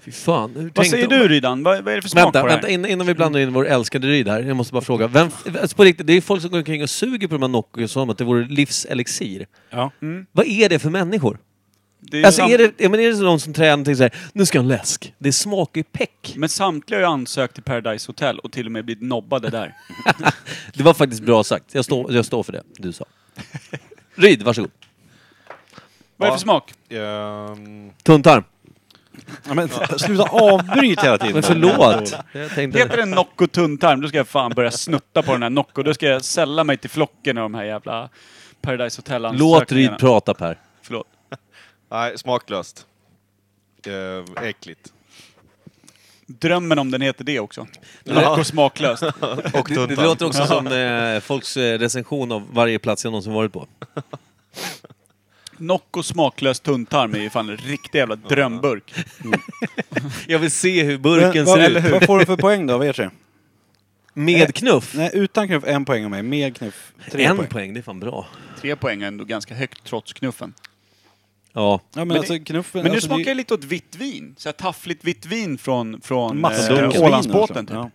Speaker 2: Fy fan. Hur
Speaker 4: Vad
Speaker 2: tänkte
Speaker 4: säger
Speaker 2: de?
Speaker 4: du Rydan? Vad, vad är det för smak
Speaker 2: Vänta,
Speaker 4: på det här?
Speaker 2: vänta innan, innan vi blandar in vår älskade Ryd här. Jag måste bara fråga. Vem, alltså på riktigt, det är folk som går omkring och suger på de här Noccos som att det vore livselixir.
Speaker 1: Ja.
Speaker 2: Vad är det för människor?
Speaker 4: Det är ju
Speaker 2: Alltså
Speaker 4: sam-
Speaker 2: är det, ja, men är det så de som tränar till så här, nu ska jag ha en läsk. Det smakar ju peck.
Speaker 4: Men samtliga har ju ansökt till Paradise Hotel och till och med blivit nobbade där.
Speaker 2: Det var faktiskt bra sagt. Jag står, jag står för det du sa. Ryd, varsågod.
Speaker 4: Vad är det
Speaker 3: Ja.
Speaker 4: för smak?
Speaker 3: Ehm,
Speaker 2: Tunntarm.
Speaker 1: Ja, men, sluta avbryt hela tiden.
Speaker 2: Men förlåt. Jag tänkte...
Speaker 4: Heter det Nocco tunntarm, då ska jag fan börja snutta på den här Nocco. Då ska jag sälla mig till flocken av de här jävla Paradise Hotel-ansökningarna.
Speaker 2: Låt Ryd prata Per.
Speaker 4: Förlåt.
Speaker 3: nej, smaklöst. Ehm, äckligt.
Speaker 4: Drömmen om den heter det också. Nocco smaklöst.
Speaker 3: Och
Speaker 2: Det,
Speaker 3: tuntan.
Speaker 2: låter också som eh, folks eh, recension av varje plats jag någonsin varit på.
Speaker 4: Nocco smaklös tunntarm är ju fan en riktig jävla drömburk.
Speaker 2: Jag vill se hur
Speaker 1: Men,
Speaker 2: burken
Speaker 1: vad,
Speaker 2: ser
Speaker 1: eller hur?
Speaker 2: ut.
Speaker 1: vad får du för poäng då av er tre?
Speaker 4: Eh,
Speaker 2: Med knuff.
Speaker 1: Nej, utan knuff en poäng av mig. Med knuff tre
Speaker 2: en
Speaker 1: poäng.
Speaker 2: poäng. det är fan bra.
Speaker 4: Tre poäng är ändå ganska högt trots knuffen.
Speaker 2: Ja.
Speaker 1: Ja, men,
Speaker 4: Men
Speaker 1: alltså
Speaker 4: det-
Speaker 1: knuffen...
Speaker 4: Men nu
Speaker 1: alltså,
Speaker 4: smakar
Speaker 1: det-
Speaker 4: det lite åt vitt vin. Så här taffligt vitt vin från, från
Speaker 1: Massor
Speaker 4: eh,
Speaker 1: av
Speaker 4: Ålandsbåten. Typ.
Speaker 1: Ja.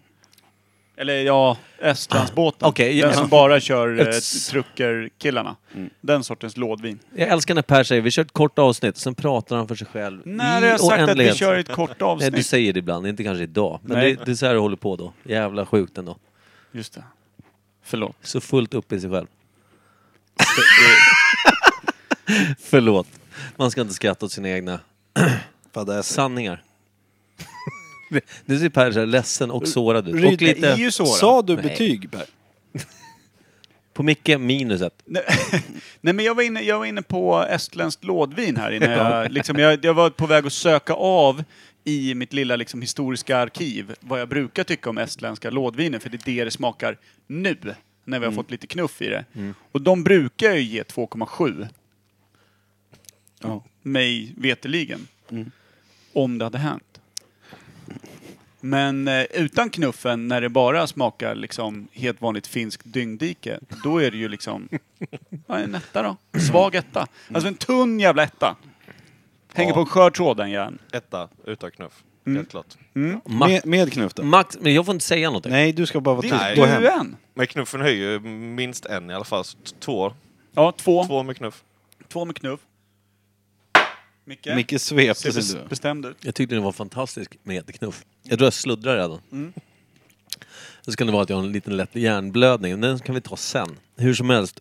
Speaker 4: Eller ja, Estlandsbåten.
Speaker 2: Ah, okej,
Speaker 4: Den
Speaker 2: ja.
Speaker 4: som bara kör eh,
Speaker 2: Ett- Mm.
Speaker 4: truckerkillarna. Den sortens lådvin.
Speaker 2: Jag älskar när Per säger vi kör ett kort avsnitt, sen pratar han för sig själv
Speaker 4: När
Speaker 2: i
Speaker 4: jag har sagt att vi
Speaker 2: oändlighet.
Speaker 4: kör ett kort
Speaker 2: Nej,
Speaker 4: avsnitt.
Speaker 2: du säger det ibland, inte kanske idag. Men
Speaker 4: Nej.
Speaker 2: det, det är så här du håller på då. Jävla sjukt ändå.
Speaker 4: Just det. Förlåt.
Speaker 2: Så fullt upp i sig själv. Förlåt. Man ska inte skratta åt sina egna
Speaker 1: Fadäser.
Speaker 2: sanningar. Nu ser Per så här ledsen och sårad ut. Och
Speaker 1: Ryd,
Speaker 2: lite...
Speaker 4: ju sårad.
Speaker 1: Sa du
Speaker 2: Nej.
Speaker 1: betyg Per?
Speaker 2: På Micke, minus ett.
Speaker 4: Nej, Nej men jag var, inne, jag var inne på estländskt lådvin här innan jag, liksom, jag, jag var på väg att söka av i mitt lilla liksom, historiska arkiv vad jag brukar tycka om estländska lådviner, för det är det det smakar nu, när vi har fått lite knuff i det. Och de brukar jag ju ge 2,7.
Speaker 1: Ja.
Speaker 4: mig veteligen. Om det hade hänt. Men eh, utan knuffen, när det bara smakar liksom helt vanligt finskt dyngdike, då är det ju liksom ja, en etta då. Svag etta. Alltså en tunn jävla etta. Hänger
Speaker 3: Ja.
Speaker 4: på en skör tråd den järn.
Speaker 3: Etta, utan knuff.
Speaker 4: Mm.
Speaker 3: Helt klart.
Speaker 2: Ma-
Speaker 1: Med, med knuff då?
Speaker 2: Max, men jag får inte säga någonting.
Speaker 1: Nej, du ska bara vara
Speaker 4: Det
Speaker 1: tyst.
Speaker 4: är
Speaker 1: Gå
Speaker 4: ju
Speaker 1: hem.
Speaker 4: en.
Speaker 3: Men knuffen höjer ju minst en i alla fall. Så t- två.
Speaker 4: Ja, två. två.
Speaker 3: Två med knuff.
Speaker 4: med knuff. Micke,
Speaker 1: Micke svepte
Speaker 4: ser
Speaker 1: sig.
Speaker 4: bes- bestämd ut.
Speaker 2: Jag tyckte den var fantastisk med knuff. Jag tror jag sluddrar redan. Så kan det vara att jag har en liten lätt hjärnblödning. Den kan vi ta sen. Hur som helst.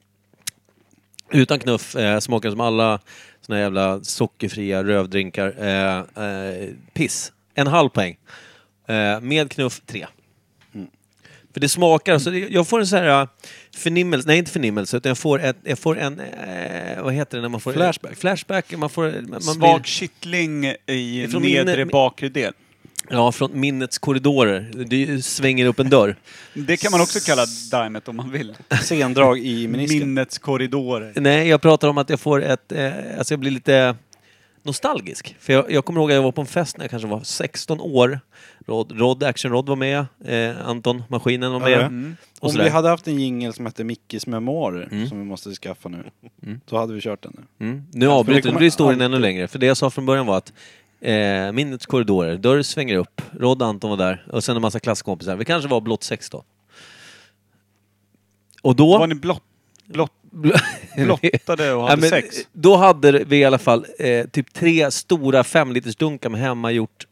Speaker 2: Utan knuff eh, smakar det som alla såna här jävla sockerfria rövdrinkar. Eh, eh, piss. En halv poäng. Eh, med knuff, tre. För det smakar, så det, jag får en sån här eh, förnimmelse, nej inte förnimmelse, utan jag får, ett, jag får en, eh, vad heter det när man får...
Speaker 1: Flashback.
Speaker 2: Flashback, man får... Man
Speaker 4: Svag kittling i
Speaker 2: Från
Speaker 4: nedre
Speaker 2: min-
Speaker 4: bakre del.
Speaker 2: Ja, från minnets korridorer. Det svänger upp en dörr.
Speaker 4: Det kan man också kalla dimet om man vill.
Speaker 1: Sendrag i menisken.
Speaker 4: Minnets korridorer.
Speaker 2: Nej, jag pratar om att jag får ett... Eh, alltså jag blir lite nostalgisk. För jag, jag kommer ihåg att jag var på en fest när jag kanske var 16 år. Rod, Rod Action Rod var med. Eh, Anton, Maskinen var med. Mm.
Speaker 1: Ja.
Speaker 2: Och
Speaker 1: Om vi
Speaker 2: sådär.
Speaker 1: hade haft en jingel som hette Mickes memoarer, som vi måste skaffa nu, då hade vi kört den nu.
Speaker 2: Mm. Nu
Speaker 1: det
Speaker 2: avbryter
Speaker 1: kommer
Speaker 2: du historien
Speaker 1: alltid-
Speaker 2: ännu längre. För det jag sa från början var att eh, minnets korridorer, dörr svänger upp. Rod och Anton var där. Och sen en massa klasskompisar. Vi kanske var blott 16. Och då...
Speaker 4: Var ni blott, blott, blottade och
Speaker 2: Ja,
Speaker 4: hade
Speaker 2: men, eh,
Speaker 4: sex?
Speaker 2: Då hade vi i alla fall eh, typ tre stora femlitersdunkar med hemmagjort,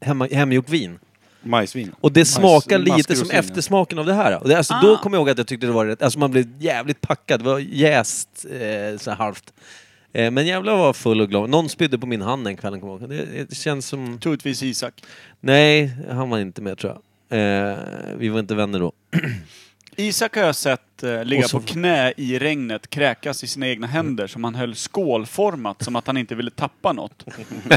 Speaker 2: hemma, hemgjort vin.
Speaker 1: Majsvin.
Speaker 2: Och det
Speaker 1: Majs-
Speaker 2: smakar lite som
Speaker 1: maskrosvin, ja.
Speaker 2: eftersmaken av det här. Och det, alltså, Då kommer jag ihåg att jag tyckte det var rätt, alltså man blev jävligt packad, det var jäst eh, så här halvt. Eh, men jävlar vad full och glad. Någon spydde på min hand den kvällen kommer jag ihåg. Det, det känns som...
Speaker 4: Troligtvis Isak.
Speaker 2: Nej, han var inte med tror jag. Eh, vi var inte vänner då.
Speaker 4: Isak har jag sett eh, ligga
Speaker 2: Och så-
Speaker 4: på knä i regnet, kräkas i sina egna händer som han höll skålformat, som att han inte ville tappa något.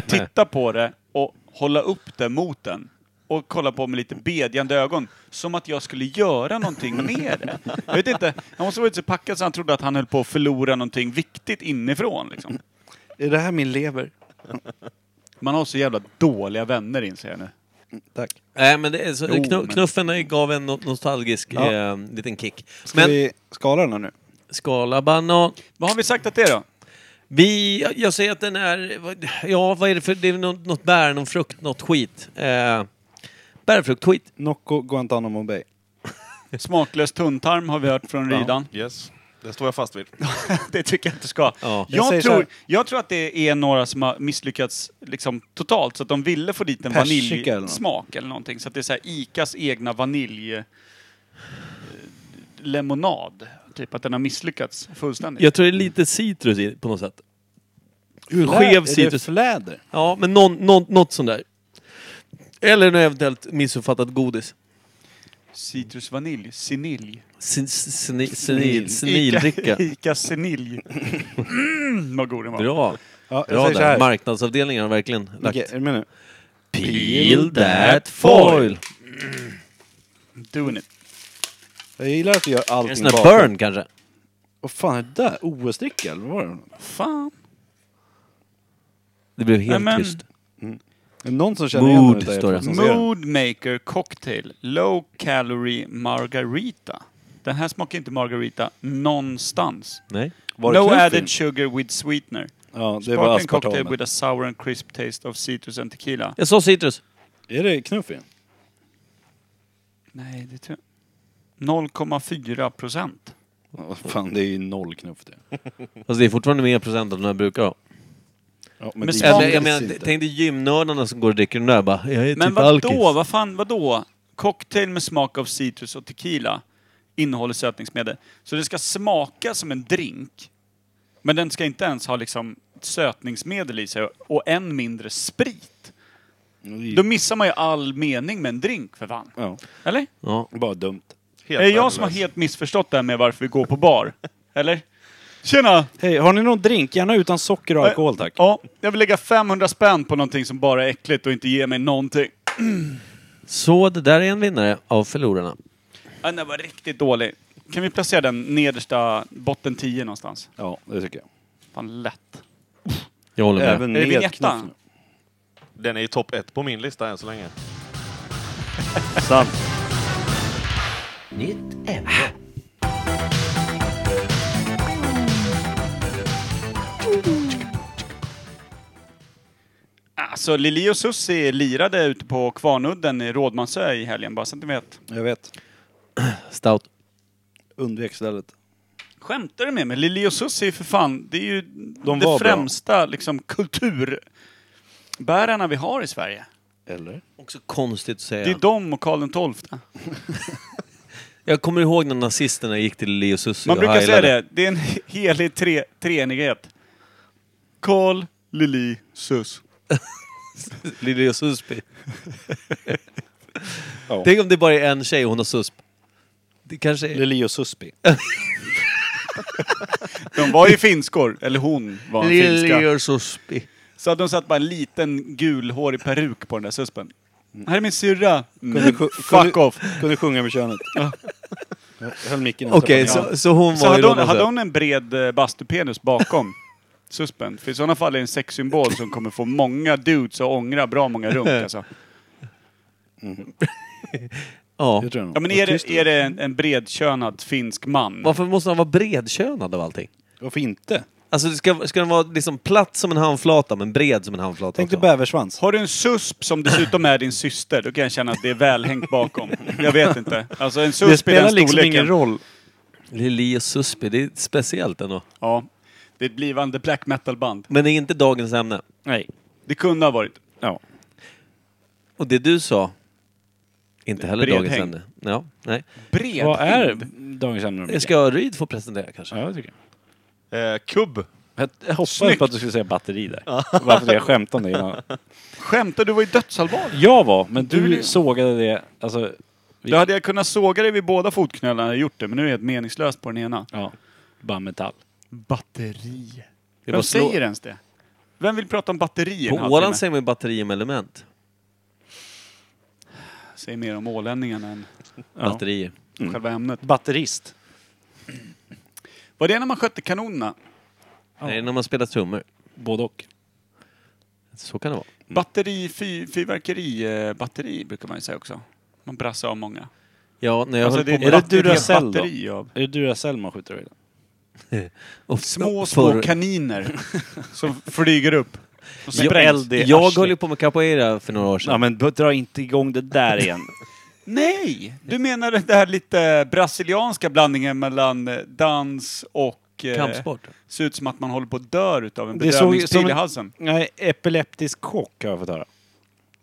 Speaker 4: Titta på det och hålla upp det mot den. Och kolla på med lite bedjande ögon, som att jag skulle göra någonting med det. Jag vet inte, han måste ha varit så packad så han trodde att han höll på att förlora någonting viktigt inifrån. Liksom.
Speaker 1: Är det här min lever?
Speaker 4: Man har så jävla dåliga vänner inser jag nu.
Speaker 2: Tack. Nej, men det är så,
Speaker 4: Jo,
Speaker 2: knu,
Speaker 4: men-
Speaker 2: Knuffen gav en no- nostalgisk
Speaker 1: Ja.
Speaker 2: eh, liten kick.
Speaker 1: Ska
Speaker 2: Men
Speaker 1: vi skala den här nu?
Speaker 2: skala banan.
Speaker 4: Vad har vi sagt att det är då?
Speaker 2: Vi, jag- jag säger att den är... vad- Ja, vad är det för... Det är något, något bär, någon frukt, något skit. Eh, bärfruktskit.
Speaker 1: Nocco Guantanamo Bay.
Speaker 4: Smaklös tunntarm har vi hört från Rydan.
Speaker 3: Yes, det står jag fast vid.
Speaker 4: Det tycker jag inte ska.
Speaker 2: Ja.
Speaker 1: Jag säger
Speaker 4: Jag,
Speaker 1: så här-
Speaker 4: tror, jag tror att det är några som har misslyckats liksom, totalt, så att de ville få dit en
Speaker 1: Persika eller något.
Speaker 4: vaniljsmak eller någonting. Så att det är så här ICAs egna vanilj... eh, lemonad. Typ att den har misslyckats fullständigt.
Speaker 2: Jag tror det är lite citrus i, på något sätt.
Speaker 1: Är
Speaker 2: Skev
Speaker 1: det
Speaker 2: citrus.
Speaker 1: Fläder?
Speaker 2: Ja, men någon, någon, något sånt där. Eller något eventuellt missuppfattat godis.
Speaker 4: Citrusvanilj. Senilj.
Speaker 2: Sen- sen- Senil,
Speaker 4: Ica,
Speaker 2: senildricka.
Speaker 4: Ica senilj. Mm, vad god den var.
Speaker 2: Bra.
Speaker 1: Ja, jag
Speaker 2: Bra
Speaker 1: säger så här.
Speaker 2: där. Marknadsavdelningen har verkligen lagt...
Speaker 1: Micke, är du med nu?
Speaker 2: Peel that foil!
Speaker 4: Doing it.
Speaker 1: Jag gillar att du gör
Speaker 2: En
Speaker 1: allting
Speaker 2: sån här burn kanske?
Speaker 1: Vad fan är det där? OS-dricka eller vad var det?
Speaker 4: Fan.
Speaker 2: Det blev helt
Speaker 4: Nämen.
Speaker 2: tyst.
Speaker 1: Är det någon som känner igen
Speaker 2: Mood,
Speaker 1: den utav er
Speaker 2: står det.
Speaker 1: två som ser den?
Speaker 4: Mood Maker Cocktail Low Calorie Margarita. Den här smakar inte margarita någonstans.
Speaker 2: Nej.
Speaker 1: Var det
Speaker 4: no
Speaker 1: knuff i den?
Speaker 4: added sugar with sweetener.
Speaker 1: Ja, det var
Speaker 4: Sparkling cocktail
Speaker 1: aspartam.
Speaker 4: with a sour and crisp taste of citrus and tequila.
Speaker 2: Jag sa citrus.
Speaker 1: Är det knuff i den?
Speaker 4: Nej, det tror jag 0,4 procent.
Speaker 1: Ja, vad fan, det är ju noll knuff det.
Speaker 2: Alltså det är fortfarande mer procent än de här brukar ha.
Speaker 1: Ja,
Speaker 4: Men
Speaker 1: det
Speaker 4: smak-
Speaker 2: Jag,
Speaker 1: gills
Speaker 2: men, jag menar,
Speaker 1: inte.
Speaker 2: t- tänk dig gymnördarna som går och dricker den där bara. Jag är
Speaker 4: Men
Speaker 2: typ
Speaker 4: vadå?
Speaker 2: alkis.
Speaker 4: Vad fan, vadå? Cocktail med smak av citrus och tequila innehåller sötningsmedel. Så det ska smaka som en drink. Men den ska inte ens ha liksom sötningsmedel i sig och än mindre sprit. Då missar man ju all mening med en drink för fan.
Speaker 1: Ja,
Speaker 4: Eller?
Speaker 2: Ja.
Speaker 1: bara dumt.
Speaker 3: Helt
Speaker 4: Är det jag som har
Speaker 3: värdelös.
Speaker 4: helt missförstått det här med varför vi går på bar? Eller? Tjena!
Speaker 1: Hej, har ni någon drink? Gärna utan socker och alkohol tack.
Speaker 4: Ja, jag vill lägga 500 spänn på någonting som bara är äckligt och inte ger mig någonting.
Speaker 2: Så det där är en vinnare av förlorarna.
Speaker 4: Ja, Den var riktigt dålig. Kan vi placera den nedersta botten 10 någonstans?
Speaker 1: Ja, det tycker jag.
Speaker 4: Fan lätt.
Speaker 2: Jag håller med.
Speaker 1: Även
Speaker 4: Är det
Speaker 1: med
Speaker 4: Vignetta?
Speaker 1: knuff nu.
Speaker 3: Den är ju topp ett på min lista än så länge.
Speaker 1: Sant.
Speaker 8: Nytt ämne.
Speaker 4: Alltså Lili och Susie lirade ute på Kvarnudden i Rådmansö i helgen, bara så att ni vet.
Speaker 1: Jag vet.
Speaker 2: Stout.
Speaker 1: Undvek stället.
Speaker 4: Skämtar du med mig? Lili och Susie är för fan, det är ju de
Speaker 1: var bra.
Speaker 4: främsta liksom, kulturbärarna vi har i Sverige.
Speaker 1: Eller?
Speaker 2: Också konstigt att säga.
Speaker 4: Det är de och Karl XII.
Speaker 2: Jag kommer ihåg när nazisterna gick till Leo Sussi
Speaker 4: Man
Speaker 2: och
Speaker 4: brukar säga
Speaker 2: heilade.
Speaker 4: det, det är en helig tre, treenighet. Karl, Lili, Sus.
Speaker 2: Leo Suspi.
Speaker 1: Ja.
Speaker 2: Tänk om det bara är en tjej och hon har susp. Det kanske är...
Speaker 1: Lili och Suspi.
Speaker 4: De var ju finskor, eller hon var en finska.
Speaker 2: Leo Suspi.
Speaker 4: Så hade de satt bara en liten gulhårig peruk på den där suspen. Här är min syrra. Mm,
Speaker 1: sjö-
Speaker 4: fuck
Speaker 1: kunde-
Speaker 4: off.
Speaker 1: Kunde sjunga med könet. Jag höll micken nästan
Speaker 2: Okej,
Speaker 1: på den.
Speaker 2: så, så hon
Speaker 4: Så
Speaker 2: var i
Speaker 4: hade hon,
Speaker 2: Rådmansö.
Speaker 4: hade hon en bred eh, bastupenis bakom suspen? För i sådana fall är det en sexsymbol som kommer få många dudes att ångra bra många runk alltså.
Speaker 2: Ja.
Speaker 1: Jag tror jag
Speaker 4: Ja
Speaker 1: nog.
Speaker 4: men
Speaker 1: Vad
Speaker 4: är
Speaker 1: tyst
Speaker 4: det, är det en, en bredkönad finsk man?
Speaker 2: Varför måste han vara bredkönad av allting?
Speaker 1: Varför inte?
Speaker 2: Alltså det ska, ska den vara liksom platt som en handflata men bred som en handflata
Speaker 1: Tänk dig
Speaker 2: också.
Speaker 1: bäversvans.
Speaker 4: Har du en susp som dessutom är din syster, då kan jag känna att det är välhängt bakom. Jag vet inte. Alltså en susp
Speaker 1: Det
Speaker 4: i den
Speaker 1: spelar liksom
Speaker 4: storleken.
Speaker 1: ingen roll.
Speaker 2: Lili och Suspi, det är speciellt ändå.
Speaker 4: Ja. Det är ett blivande black metal-band.
Speaker 2: Men det är inte dagens ämne.
Speaker 1: Nej.
Speaker 4: Det kunde ha varit.
Speaker 1: Ja.
Speaker 2: Och det du sa, inte heller
Speaker 4: Bred
Speaker 2: dagens
Speaker 4: häng.
Speaker 2: ämne. Ja, nej.
Speaker 4: Bred.
Speaker 1: Vad är dagens ämne? Micke?
Speaker 2: Ska Ryd få presentera kanske?
Speaker 1: Ja, jag tycker
Speaker 3: Eh, kubb.
Speaker 1: jag. Jag hoppades
Speaker 4: Snyggt.
Speaker 1: på att du skulle säga batteri där. Varför det? Jag skämtade om det innan.
Speaker 4: Skämtar du? var ju dödsallvarlig.
Speaker 1: Jag var, men du
Speaker 4: Du-
Speaker 1: sågade det. Alltså,
Speaker 4: Då hade jag kunnat såga dig vid båda fotknölarna hade jag gjort det, men nu är det helt meningslöst på den ena.
Speaker 1: ja. Bara metall.
Speaker 4: Batteri.
Speaker 2: Det
Speaker 4: Vem
Speaker 2: var slå-
Speaker 4: säger ens det? Vem vill prata om batteri? en
Speaker 2: På
Speaker 4: halvtimme?
Speaker 2: Åland säger man ju batteri med element.
Speaker 4: Säg mer om ålänningarna än
Speaker 2: Batterier.
Speaker 4: själva ämnet.
Speaker 1: Batterist.
Speaker 4: Var det när man skötte kanonerna?
Speaker 2: Det är när man spelar trummor.
Speaker 1: Både och.
Speaker 2: Så kan det vara.
Speaker 4: Batteri, fy, fyrverkeri, eh, batteri brukar man ju säga också. Man brassar av många.
Speaker 2: Ja, när jag
Speaker 4: Alltså,
Speaker 2: höll
Speaker 4: det är,
Speaker 2: på
Speaker 1: Är
Speaker 2: med...
Speaker 1: det
Speaker 4: ett batteri-
Speaker 1: Duracell då?
Speaker 4: batteri av
Speaker 1: Är det Duracell man skjuter över?
Speaker 2: och-
Speaker 4: små,
Speaker 2: och
Speaker 4: små
Speaker 2: förr-
Speaker 4: kaniner som flyger upp. Och
Speaker 1: Jag-
Speaker 4: sprängs.
Speaker 1: eld i
Speaker 2: Jag
Speaker 1: arslet.
Speaker 2: höll ju på med capoeira för några år sedan.
Speaker 1: Ja men bu- dra inte igång det där igen.
Speaker 4: Nej! Du menar den där lite brasilianska blandningen mellan eh, dans och... eh,
Speaker 2: Kampsport.
Speaker 4: Ser ut som att man håller på att dö utav en
Speaker 1: Det såg ju
Speaker 4: bedövningspil
Speaker 1: som
Speaker 4: i
Speaker 1: en-
Speaker 4: halsen.
Speaker 1: Nej, epileptisk chock har jag fått höra.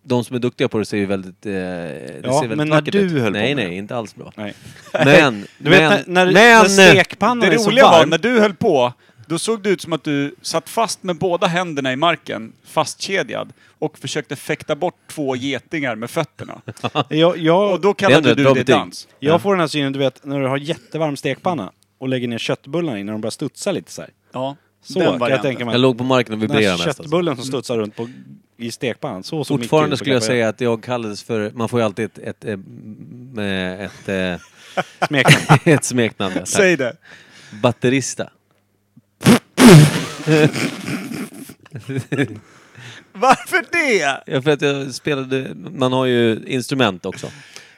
Speaker 2: De som är duktiga på det ser ju väldigt, eh, det
Speaker 1: Ja,
Speaker 2: ser väldigt
Speaker 1: men när
Speaker 2: vackert
Speaker 1: du
Speaker 2: ut.
Speaker 1: höll på
Speaker 2: Nej,
Speaker 1: med
Speaker 2: nej,
Speaker 1: det.
Speaker 2: inte alls bra.
Speaker 1: Nej.
Speaker 2: Men,
Speaker 1: Du
Speaker 2: men,
Speaker 1: vet när, när, när
Speaker 2: men,
Speaker 1: stekpannan
Speaker 4: Det
Speaker 1: är så
Speaker 4: roliga var,
Speaker 1: varm.
Speaker 4: när du höll på, då såg det ut som att du satt fast med båda händerna i marken, fastkedjad, och försökte fäkta bort två getingar med fötterna.
Speaker 1: Jag, jag,
Speaker 4: Och då
Speaker 2: ändå
Speaker 4: kallade
Speaker 2: ett
Speaker 4: du
Speaker 2: bra
Speaker 4: det
Speaker 2: betyg.
Speaker 4: dans.
Speaker 1: jag får den här synen, du vet när du har jättevarm stekpanna och lägger ner köttbullarna i när de börjar studsa lite så här.
Speaker 4: Ja,
Speaker 1: Så
Speaker 4: den
Speaker 1: kan jag
Speaker 4: varianten.
Speaker 1: tänka mig.
Speaker 2: jag låg på marken och
Speaker 1: Den här
Speaker 2: vibrerade mest. Alltså.
Speaker 1: köttbullen som studsar runt på, i stekpannan. Så såg Micke
Speaker 2: Fortfarande
Speaker 1: ut på
Speaker 2: skulle jag
Speaker 1: Capoeira.
Speaker 2: säga att jag kallades för, man får ju alltid ett, ett, eh, m- eh, ett, ett,
Speaker 1: Smeknamn.
Speaker 2: ett smeknamn. där.
Speaker 4: Säg det.
Speaker 2: Batterista.
Speaker 4: Varför det?
Speaker 2: Ja, för att jag spelade, man har ju instrument också.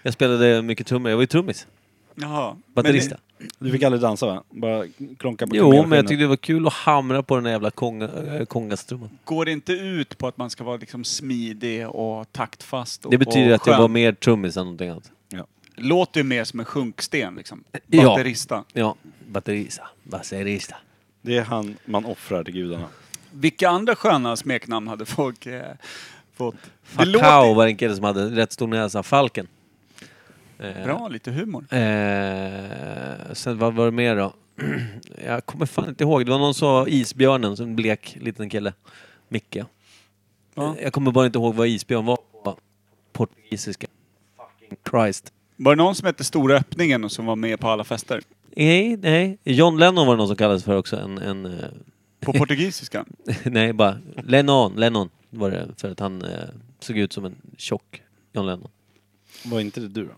Speaker 2: Jag spelade mycket trummor, jag var ju trummis.
Speaker 4: Jaha.
Speaker 2: Batterista.
Speaker 1: Du fick aldrig dansa va? Bara klonka på
Speaker 2: jo,
Speaker 1: kamelskinnet.
Speaker 2: men jag tyckte det var kul att hamra på den där jävla konga, eh, kongastrumman.
Speaker 4: Men går det inte ut på att man ska vara liksom smidig och taktfast? Och,
Speaker 2: Det betyder
Speaker 4: och
Speaker 2: att jag var
Speaker 4: skön?
Speaker 2: mer trummis än någonting annat.
Speaker 4: Låter ju mer som en sjunksten liksom.
Speaker 2: Ja.
Speaker 4: Batterista.
Speaker 2: Ja, batterista. Batterista.
Speaker 1: Det är han man offrar till gudarna.
Speaker 4: Vilka andra sköna smeknamn hade folk eh, fått? Det
Speaker 2: Fakao var en kille som hade rätt stor näsa. Falken. Eh,
Speaker 4: Bra, lite humor.
Speaker 2: Eh, sen vad var det mer då? jag kommer fan inte ihåg. Det var någon som sa isbjörnen, som en blek liten kille. Micke.
Speaker 4: Ja.
Speaker 2: Jag kommer bara inte ihåg vad isbjörn var på portugisiska. Fucking Christ.
Speaker 4: Var det någon som hette Stora Öppningen och som var med på alla fester?
Speaker 2: Nej, nej. John Lennon var det någon som kallades för också. En, en, eh,
Speaker 4: På portugisiska?
Speaker 2: nej, bara Lennon, Lennon var det. För att han eh, såg ut som en tjock John Lennon.
Speaker 1: Var inte det du då?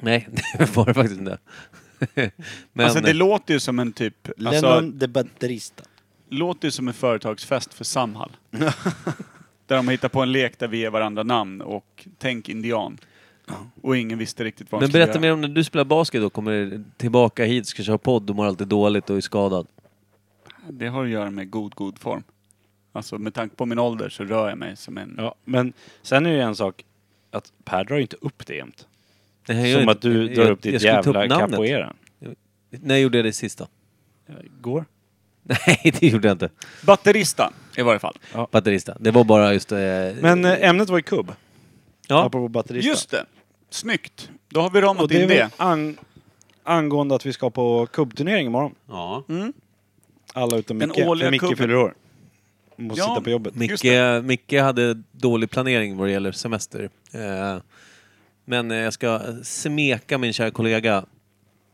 Speaker 2: Nej, det var det faktiskt inte. Men,
Speaker 4: alltså det låter ju som en typ... Alltså,
Speaker 1: Lennon the Batterista.
Speaker 4: låter ju som en företagsfest för Samhall. där de hittar på en lek där vi ger varandra namn och tänk indian. Och ingen visste riktigt vad de
Speaker 2: Men
Speaker 4: skulle
Speaker 2: berätta
Speaker 4: göra.
Speaker 2: mer om när du spelar basket och kommer tillbaka hit, ska köra podd och mår alltid dåligt och är skadad.
Speaker 4: Det har att göra med god, god form. Alltså med tanke på min ålder så rör jag mig som en...
Speaker 1: Ja, men sen är det ju en sak att Per drar ju inte upp det jämt.
Speaker 2: Nej, jag
Speaker 1: Som
Speaker 2: gör
Speaker 1: att du
Speaker 2: inte-
Speaker 1: drar
Speaker 2: jag-
Speaker 1: upp ditt
Speaker 2: jag skulle ta
Speaker 1: jävla
Speaker 2: namnet.
Speaker 1: capoeira.
Speaker 2: När gjorde jag det sista?
Speaker 1: Går.
Speaker 2: Nej, det gjorde jag inte.
Speaker 4: Batterista i varje fall.
Speaker 2: Batterista. Det var bara just... Eh,
Speaker 1: Men eh, ämnet var ju kubb.
Speaker 2: ja.
Speaker 1: Apropå batterista.
Speaker 4: Just det! Snyggt! Då har vi
Speaker 1: Och
Speaker 4: ramat
Speaker 1: det är
Speaker 4: in
Speaker 1: väl
Speaker 4: det.
Speaker 1: an angående att vi ska på kubbturnering imorgon.
Speaker 2: ja.
Speaker 1: Mm. Alla utom
Speaker 4: Den
Speaker 1: Micke.
Speaker 4: årliga
Speaker 1: För Micke
Speaker 4: kubben.
Speaker 1: fyller år. Måste
Speaker 4: Ja,
Speaker 1: sitta på jobbet.
Speaker 4: Just
Speaker 2: Micke, Micke hade dålig planering vad det gäller semester. Eh, men eh, jag ska smeka min kära kollega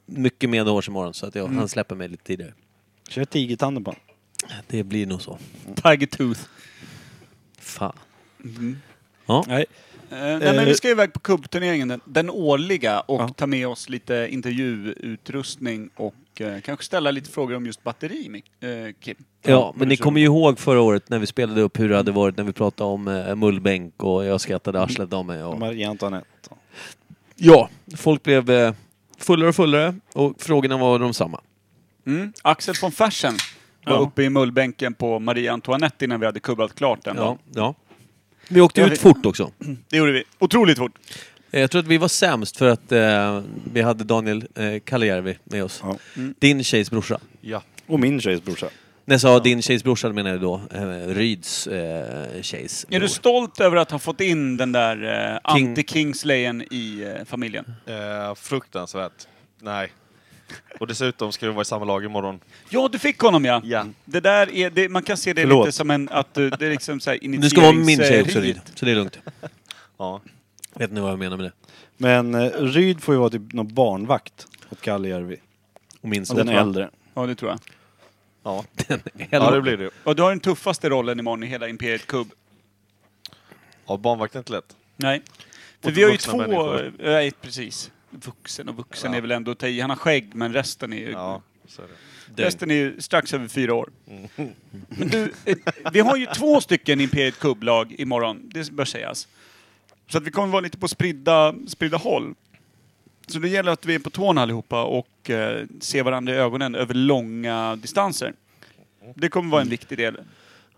Speaker 2: mycket medhårs imorgon så att jag,
Speaker 1: Mm.
Speaker 2: han släpper mig lite tidigare.
Speaker 1: Kör tigertanden på honom.
Speaker 2: Det blir nog så.
Speaker 4: Tiger Tooth.
Speaker 2: Fan.
Speaker 1: Mm. Nej.
Speaker 4: Eh, nej, men
Speaker 1: Eh,
Speaker 4: vi ska iväg på kubbturneringen, den, den årliga, och
Speaker 1: Ja.
Speaker 4: ta med oss lite intervjuutrustning och eh, kanske ställa lite frågor om just batteri, Mik- eh, Kim.
Speaker 2: Ja, men ni
Speaker 4: så-
Speaker 2: kommer ju ihåg förra året när vi spelade upp hur det hade varit när vi pratade om eh, mullbänk och jag skrattade arslet av mig. Och...
Speaker 1: Marie Antoinette.
Speaker 2: Mm. Ja, folk blev eh, fullare och fullare och frågorna var de samma.
Speaker 4: Mm. Axel von Fersen var
Speaker 1: Ja.
Speaker 4: uppe i mullbänken på Marie Antoinette innan vi hade kubbat klart den
Speaker 2: Ja,
Speaker 4: dagen.
Speaker 2: ja. Vi åkte
Speaker 4: Jag
Speaker 2: ut
Speaker 4: vet-
Speaker 2: fort också.
Speaker 4: Det gjorde vi. Otroligt fort.
Speaker 2: Eh, Jag tror att vi var sämst för att eh, vi hade Daniel eh, Kallijärvi med oss.
Speaker 1: Ja.
Speaker 2: Din tjejs brorsa.
Speaker 3: Ja.
Speaker 1: Och min tjejs brorsa.
Speaker 2: När jag sa din tjejs brorsa menar jag då eh, Ryds eh, tjejs
Speaker 4: Är du
Speaker 2: bror.
Speaker 4: stolt över att ha fått in den där eh,
Speaker 2: King-
Speaker 4: anti-Kingslayen i eh, familjen?
Speaker 3: Eh, fruktansvärt. Nej. Och dessutom ska vi vara i samma lag imorgon.
Speaker 4: Ja, du fick honom ja!
Speaker 3: Ja.
Speaker 4: Det där är, det, man kan se det
Speaker 1: Förlåt.
Speaker 4: lite som en, att du, det är liksom såhär
Speaker 2: Du ska vara med min tjej också
Speaker 4: initieringsrit.
Speaker 2: Ryd, så det är lugnt.
Speaker 3: Ja.
Speaker 2: Vet ni vad jag menar med det?
Speaker 1: Men eh, Ryd får ju vara typ någon barnvakt åt Kallijärvi.
Speaker 2: Och min son.
Speaker 1: Den
Speaker 2: va?
Speaker 1: äldre.
Speaker 4: Ja, det tror jag.
Speaker 3: Ja.
Speaker 2: Den
Speaker 3: ja,
Speaker 2: äldre.
Speaker 3: det blir det ju.
Speaker 4: Och du har den tuffaste rollen imorgon i hela Imperiet Kubb.
Speaker 3: Ja, barnvakt är inte lätt.
Speaker 4: Nej. För
Speaker 3: Och
Speaker 4: vi har ju
Speaker 3: vuxna
Speaker 4: två...
Speaker 3: människor.
Speaker 4: Nej, precis. Vuxen och vuxen
Speaker 3: Ja.
Speaker 4: är väl ändå att ta i. Han har skägg, men resten är ju
Speaker 3: Ja. Så är det.
Speaker 4: Resten är ju strax över fyra år.
Speaker 3: Mm.
Speaker 4: Men du, eh, vi har ju två stycken Imperiet Kubb-lag imorgon, det bör sägas. Så att vi kommer vara lite på spridda, spridda håll. Så det gäller att vi är på tårna allihopa och eh, ser varandra i ögonen över långa distanser. Det kommer
Speaker 3: Mm.
Speaker 4: vara en viktig del.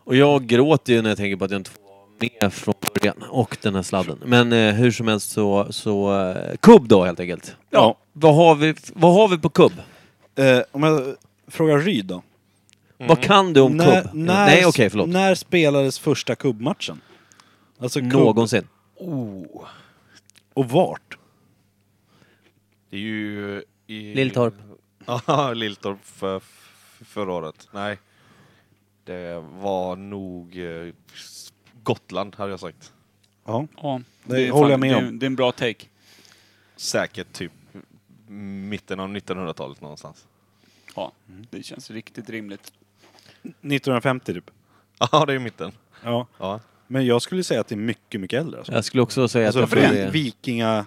Speaker 2: Och jag gråter ju när jag tänker på att jag inte får vara med från början. Och den här sladden. Men eh, hur som helst så... så eh, kubb då helt enkelt.
Speaker 1: Ja.
Speaker 2: Vad har vi, vad har vi på kubb?
Speaker 1: Eh, om jag frågar Ryd då.
Speaker 2: Vad kan du om kubb? Nej okej, förlåt.
Speaker 1: När spelades första kubbmatchen? Alltså kubb
Speaker 2: Någonsin.
Speaker 1: och vart?
Speaker 3: Det är ju... I...
Speaker 2: Lilltorp.
Speaker 3: Ja, Lilltorp för, för, förra året. Nej. Det var nog eh, Gotland, hade jag sagt.
Speaker 1: Ja.
Speaker 4: Ja,
Speaker 1: Det håller jag med
Speaker 4: det är,
Speaker 1: om.
Speaker 4: Det är en bra take.
Speaker 3: Säkert typ mitten av 1900-talet någonstans.
Speaker 4: Ja, det känns riktigt rimligt.
Speaker 1: 1950 typ.
Speaker 3: Ja, det är mitten.
Speaker 1: Ja.
Speaker 3: Ja.
Speaker 1: Men jag skulle säga att det är mycket, mycket äldre. Alltså.
Speaker 2: Jag skulle också säga
Speaker 1: Alltså,
Speaker 2: att
Speaker 1: för
Speaker 2: jag tror
Speaker 1: det
Speaker 2: det
Speaker 1: är
Speaker 2: är...
Speaker 1: vikinga...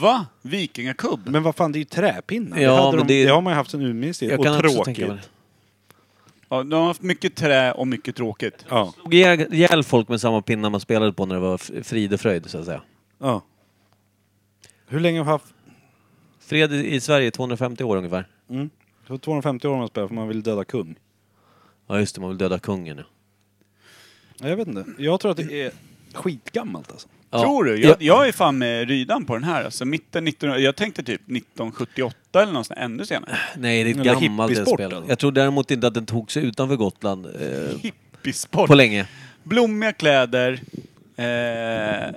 Speaker 4: Va? Vikingakubb?
Speaker 1: Men vad fan, det är ju träpinnar.
Speaker 2: Ja,
Speaker 1: det, hade
Speaker 2: men
Speaker 1: de,
Speaker 2: det-
Speaker 1: det har man ju haft sedan urminnes tid.
Speaker 2: Jag kan
Speaker 1: Och
Speaker 2: också
Speaker 1: tråkigt.
Speaker 2: tänka mig det.
Speaker 4: Ja, de har haft mycket trä och mycket tråkigt.
Speaker 1: Ja.
Speaker 2: slog ihjäl ihjäl folk med samma pinnar man spelade på när det var f- frid och fröjd, så att säga.
Speaker 1: ja. Hur länge har vi haft...
Speaker 2: Fred i i Sverige är 250 år ungefär.
Speaker 1: Mm. Det var 250 år man spelade för man vill döda kung.
Speaker 2: Ja, just det, man vill döda kungen. Ja.
Speaker 1: Ja, Jag vet inte. Jag tror att det är skitgammalt alltså.
Speaker 2: Ja.
Speaker 4: Eh, Tror du?
Speaker 2: Ja.
Speaker 4: Jag, jag är fan med Rydan på den här. Alltså mitten 1900, jag tänkte typ 1978 eller något sånt, ännu senare.
Speaker 2: Nej, det är
Speaker 1: Den
Speaker 2: ett
Speaker 1: där
Speaker 2: gammalt
Speaker 1: hippiesport,
Speaker 2: spel.
Speaker 1: alltså.
Speaker 2: Jag tror däremot inte att den tog sig utanför Gotland eh,
Speaker 4: Hippiesport.
Speaker 2: på länge.
Speaker 4: Blommiga kläder, eh,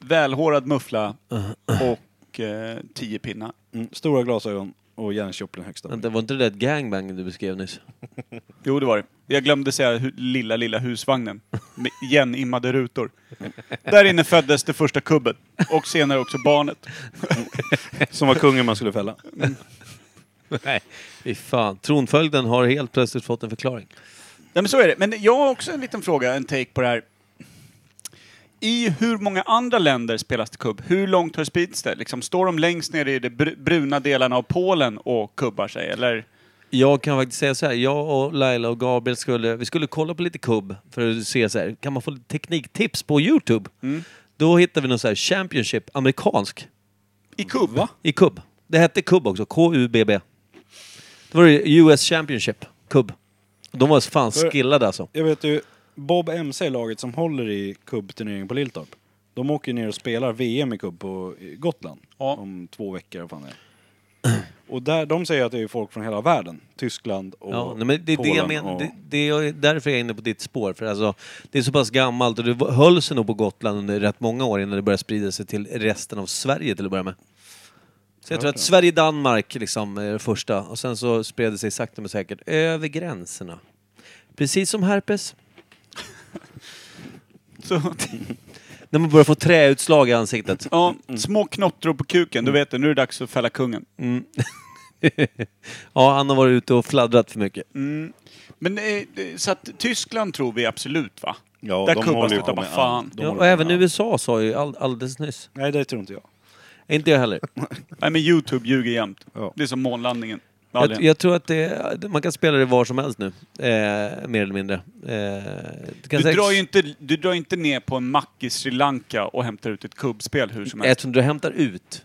Speaker 4: välhårad muffla
Speaker 2: Uh-huh.
Speaker 4: och eh, tio pinnar.
Speaker 1: Mm. Stora glasögon och järnkypeln högst upp.
Speaker 2: Vänta, var inte det där ett gangbang du beskrev nyss?
Speaker 4: Jo, det var det. Jag glömde säga hu- lilla, lilla husvagnen med igenimmade rutor. Där inne föddes det första kubbet och senare också barnet.
Speaker 1: Som var kungen man skulle fälla.
Speaker 2: Nej. Fy fan. Tronföljden har helt plötsligt fått en förklaring.
Speaker 4: Nej men så är det. Men jag har också en liten fråga, en take på det här. I hur många andra länder spelas det kubb? Hur långt har spridits det? Liksom, står de längst ner i de br- bruna delarna av Polen och kubbar sig? Eller?
Speaker 2: Jag kan faktiskt säga så här, jag och Laila och Gabriel skulle, vi skulle kolla på lite kubb för att se så här, kan man få lite tekniktips på Youtube? Då hittade vi någon så här Championship, amerikansk,
Speaker 4: I kubb? Va?
Speaker 2: i kubb. Det hette kubb också, K-U-B-B. Det var det US Championship, kubb. De var fan
Speaker 1: För-
Speaker 2: skillade alltså.
Speaker 1: Jag vet ju, Bob MC är laget som håller i kubbturneringen på Lilltorp. De åker ju ner och spelar VM i kubb på i Gotland.
Speaker 4: Ja.
Speaker 1: Om två veckor, vad fan det är. Och där, de säger att det är folk från hela världen. Tyskland och
Speaker 2: Ja, nej, men det, är det,
Speaker 1: Polen.
Speaker 2: jag men,
Speaker 1: och,
Speaker 2: det, det är därför jag är inne på ditt spår. För alltså, det är så pass gammalt och det var- höll sig nog på Gotland under rätt många år innan det började sprida sig till resten av Sverige till att börja med. Så jag tror att Sverige-Danmark liksom är det första och sen så spred det sig sakta men säkert över gränserna. Precis som herpes.
Speaker 4: Så,
Speaker 2: När man börjar få träutslag i ansiktet.
Speaker 4: ja, små knottror på kuken, du vet det. Nu är det dags att fälla kungen.
Speaker 2: ja, han har varit ute och fladdrat för mycket.
Speaker 1: Mm.
Speaker 4: Men eh, det- så att Tyskland tror vi absolut va?
Speaker 1: ja,
Speaker 4: Där
Speaker 1: de
Speaker 4: kubbas
Speaker 1: håller ju
Speaker 4: det
Speaker 1: på
Speaker 4: utav
Speaker 1: med
Speaker 4: fan.
Speaker 1: allt. De
Speaker 2: Ja,
Speaker 1: håller
Speaker 2: och
Speaker 1: på
Speaker 2: även
Speaker 1: med allt.
Speaker 2: USA sa ju all, alldeles nyss.
Speaker 1: Nej, det tror inte jag.
Speaker 2: Inte jag heller.
Speaker 4: Nej men Youtube ljuger jämt.
Speaker 1: Ja.
Speaker 4: Det är som månlandningen.
Speaker 2: Jag, jag tror att det, man kan spela det var som helst nu, eh, mer eller mindre. Eh, du kan
Speaker 4: Du
Speaker 2: säkert-
Speaker 4: drar, ju inte, du drar inte ner på en mack i Sri Lanka och hämtar ut ett kubbspel hur som helst.
Speaker 2: Eftersom du hämtar ut.